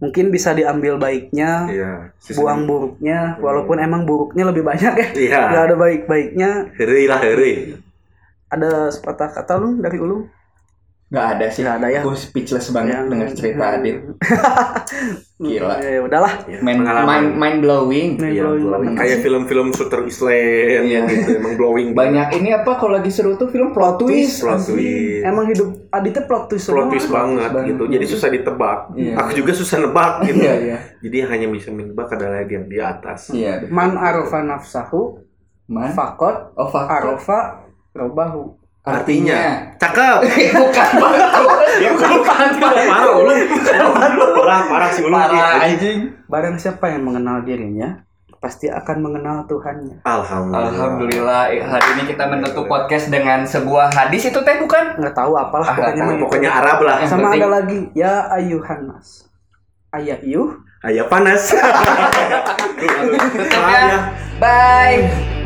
[SPEAKER 2] mungkin bisa diambil baiknya.
[SPEAKER 3] Iya. Sis-
[SPEAKER 2] buang buruknya walaupun emang buruknya lebih banyak ya nggak
[SPEAKER 3] Iya.
[SPEAKER 2] ada baik baiknya
[SPEAKER 3] Heri lah heri.
[SPEAKER 2] ada sepatah kata lu dari ulung
[SPEAKER 1] nggak ada sih
[SPEAKER 2] Nggak ada ya.
[SPEAKER 1] aku speechless banget
[SPEAKER 2] Yang-
[SPEAKER 1] dengar cerita Adit Gila.
[SPEAKER 2] ya ya udahlah
[SPEAKER 1] mind,
[SPEAKER 3] Pengalaman.
[SPEAKER 1] mind, mind blowing
[SPEAKER 2] Mind
[SPEAKER 3] Iya,
[SPEAKER 2] blowing.
[SPEAKER 3] blowing. kayak film-film shooter Island
[SPEAKER 1] Iya.
[SPEAKER 3] gitu emang blowing
[SPEAKER 1] banyak ini apa kalau lagi seru tuh film plot twist
[SPEAKER 3] plot twist.
[SPEAKER 2] emang hidup aditnya plot twist semua
[SPEAKER 3] plot twist banget
[SPEAKER 1] banget.
[SPEAKER 3] gitu. Jadi susah ditebak.
[SPEAKER 1] Iya.
[SPEAKER 3] Aku juga susah nebak gitu.
[SPEAKER 1] Iya, iya.
[SPEAKER 3] Jadi hanya bisa menebak adalah yang di atas.
[SPEAKER 1] iya
[SPEAKER 2] man arofa nafsahu
[SPEAKER 1] man
[SPEAKER 2] fakot
[SPEAKER 1] oh fuck.
[SPEAKER 2] arofa robahu
[SPEAKER 3] Artinya, cakep.
[SPEAKER 1] [laughs] bukan
[SPEAKER 3] ya, bukan parah lu.
[SPEAKER 1] [laughs]
[SPEAKER 3] Parah, parah sih gitu. lu.
[SPEAKER 1] parah anjing
[SPEAKER 2] barang siapa yang mengenal dirinya pasti akan mengenal Tuhannya
[SPEAKER 3] Alhamdulillah.
[SPEAKER 1] Iya. Alhamdulillah eh, hari ini kita menutup podcast dengan sebuah hadis itu teh bukan
[SPEAKER 2] nggak tahu apalah
[SPEAKER 1] Ah,
[SPEAKER 2] pokoknya
[SPEAKER 1] nggak
[SPEAKER 2] mah
[SPEAKER 1] tahu.
[SPEAKER 2] gitu.
[SPEAKER 3] Pokoknya Arab lah.
[SPEAKER 1] Yang
[SPEAKER 2] sama
[SPEAKER 1] penting-
[SPEAKER 2] ada lagi ya ayuhan nas ayah yuh
[SPEAKER 1] [laughs]
[SPEAKER 3] Ayah panas. Maaf
[SPEAKER 1] Tutup
[SPEAKER 3] ya.
[SPEAKER 1] ya. Bye.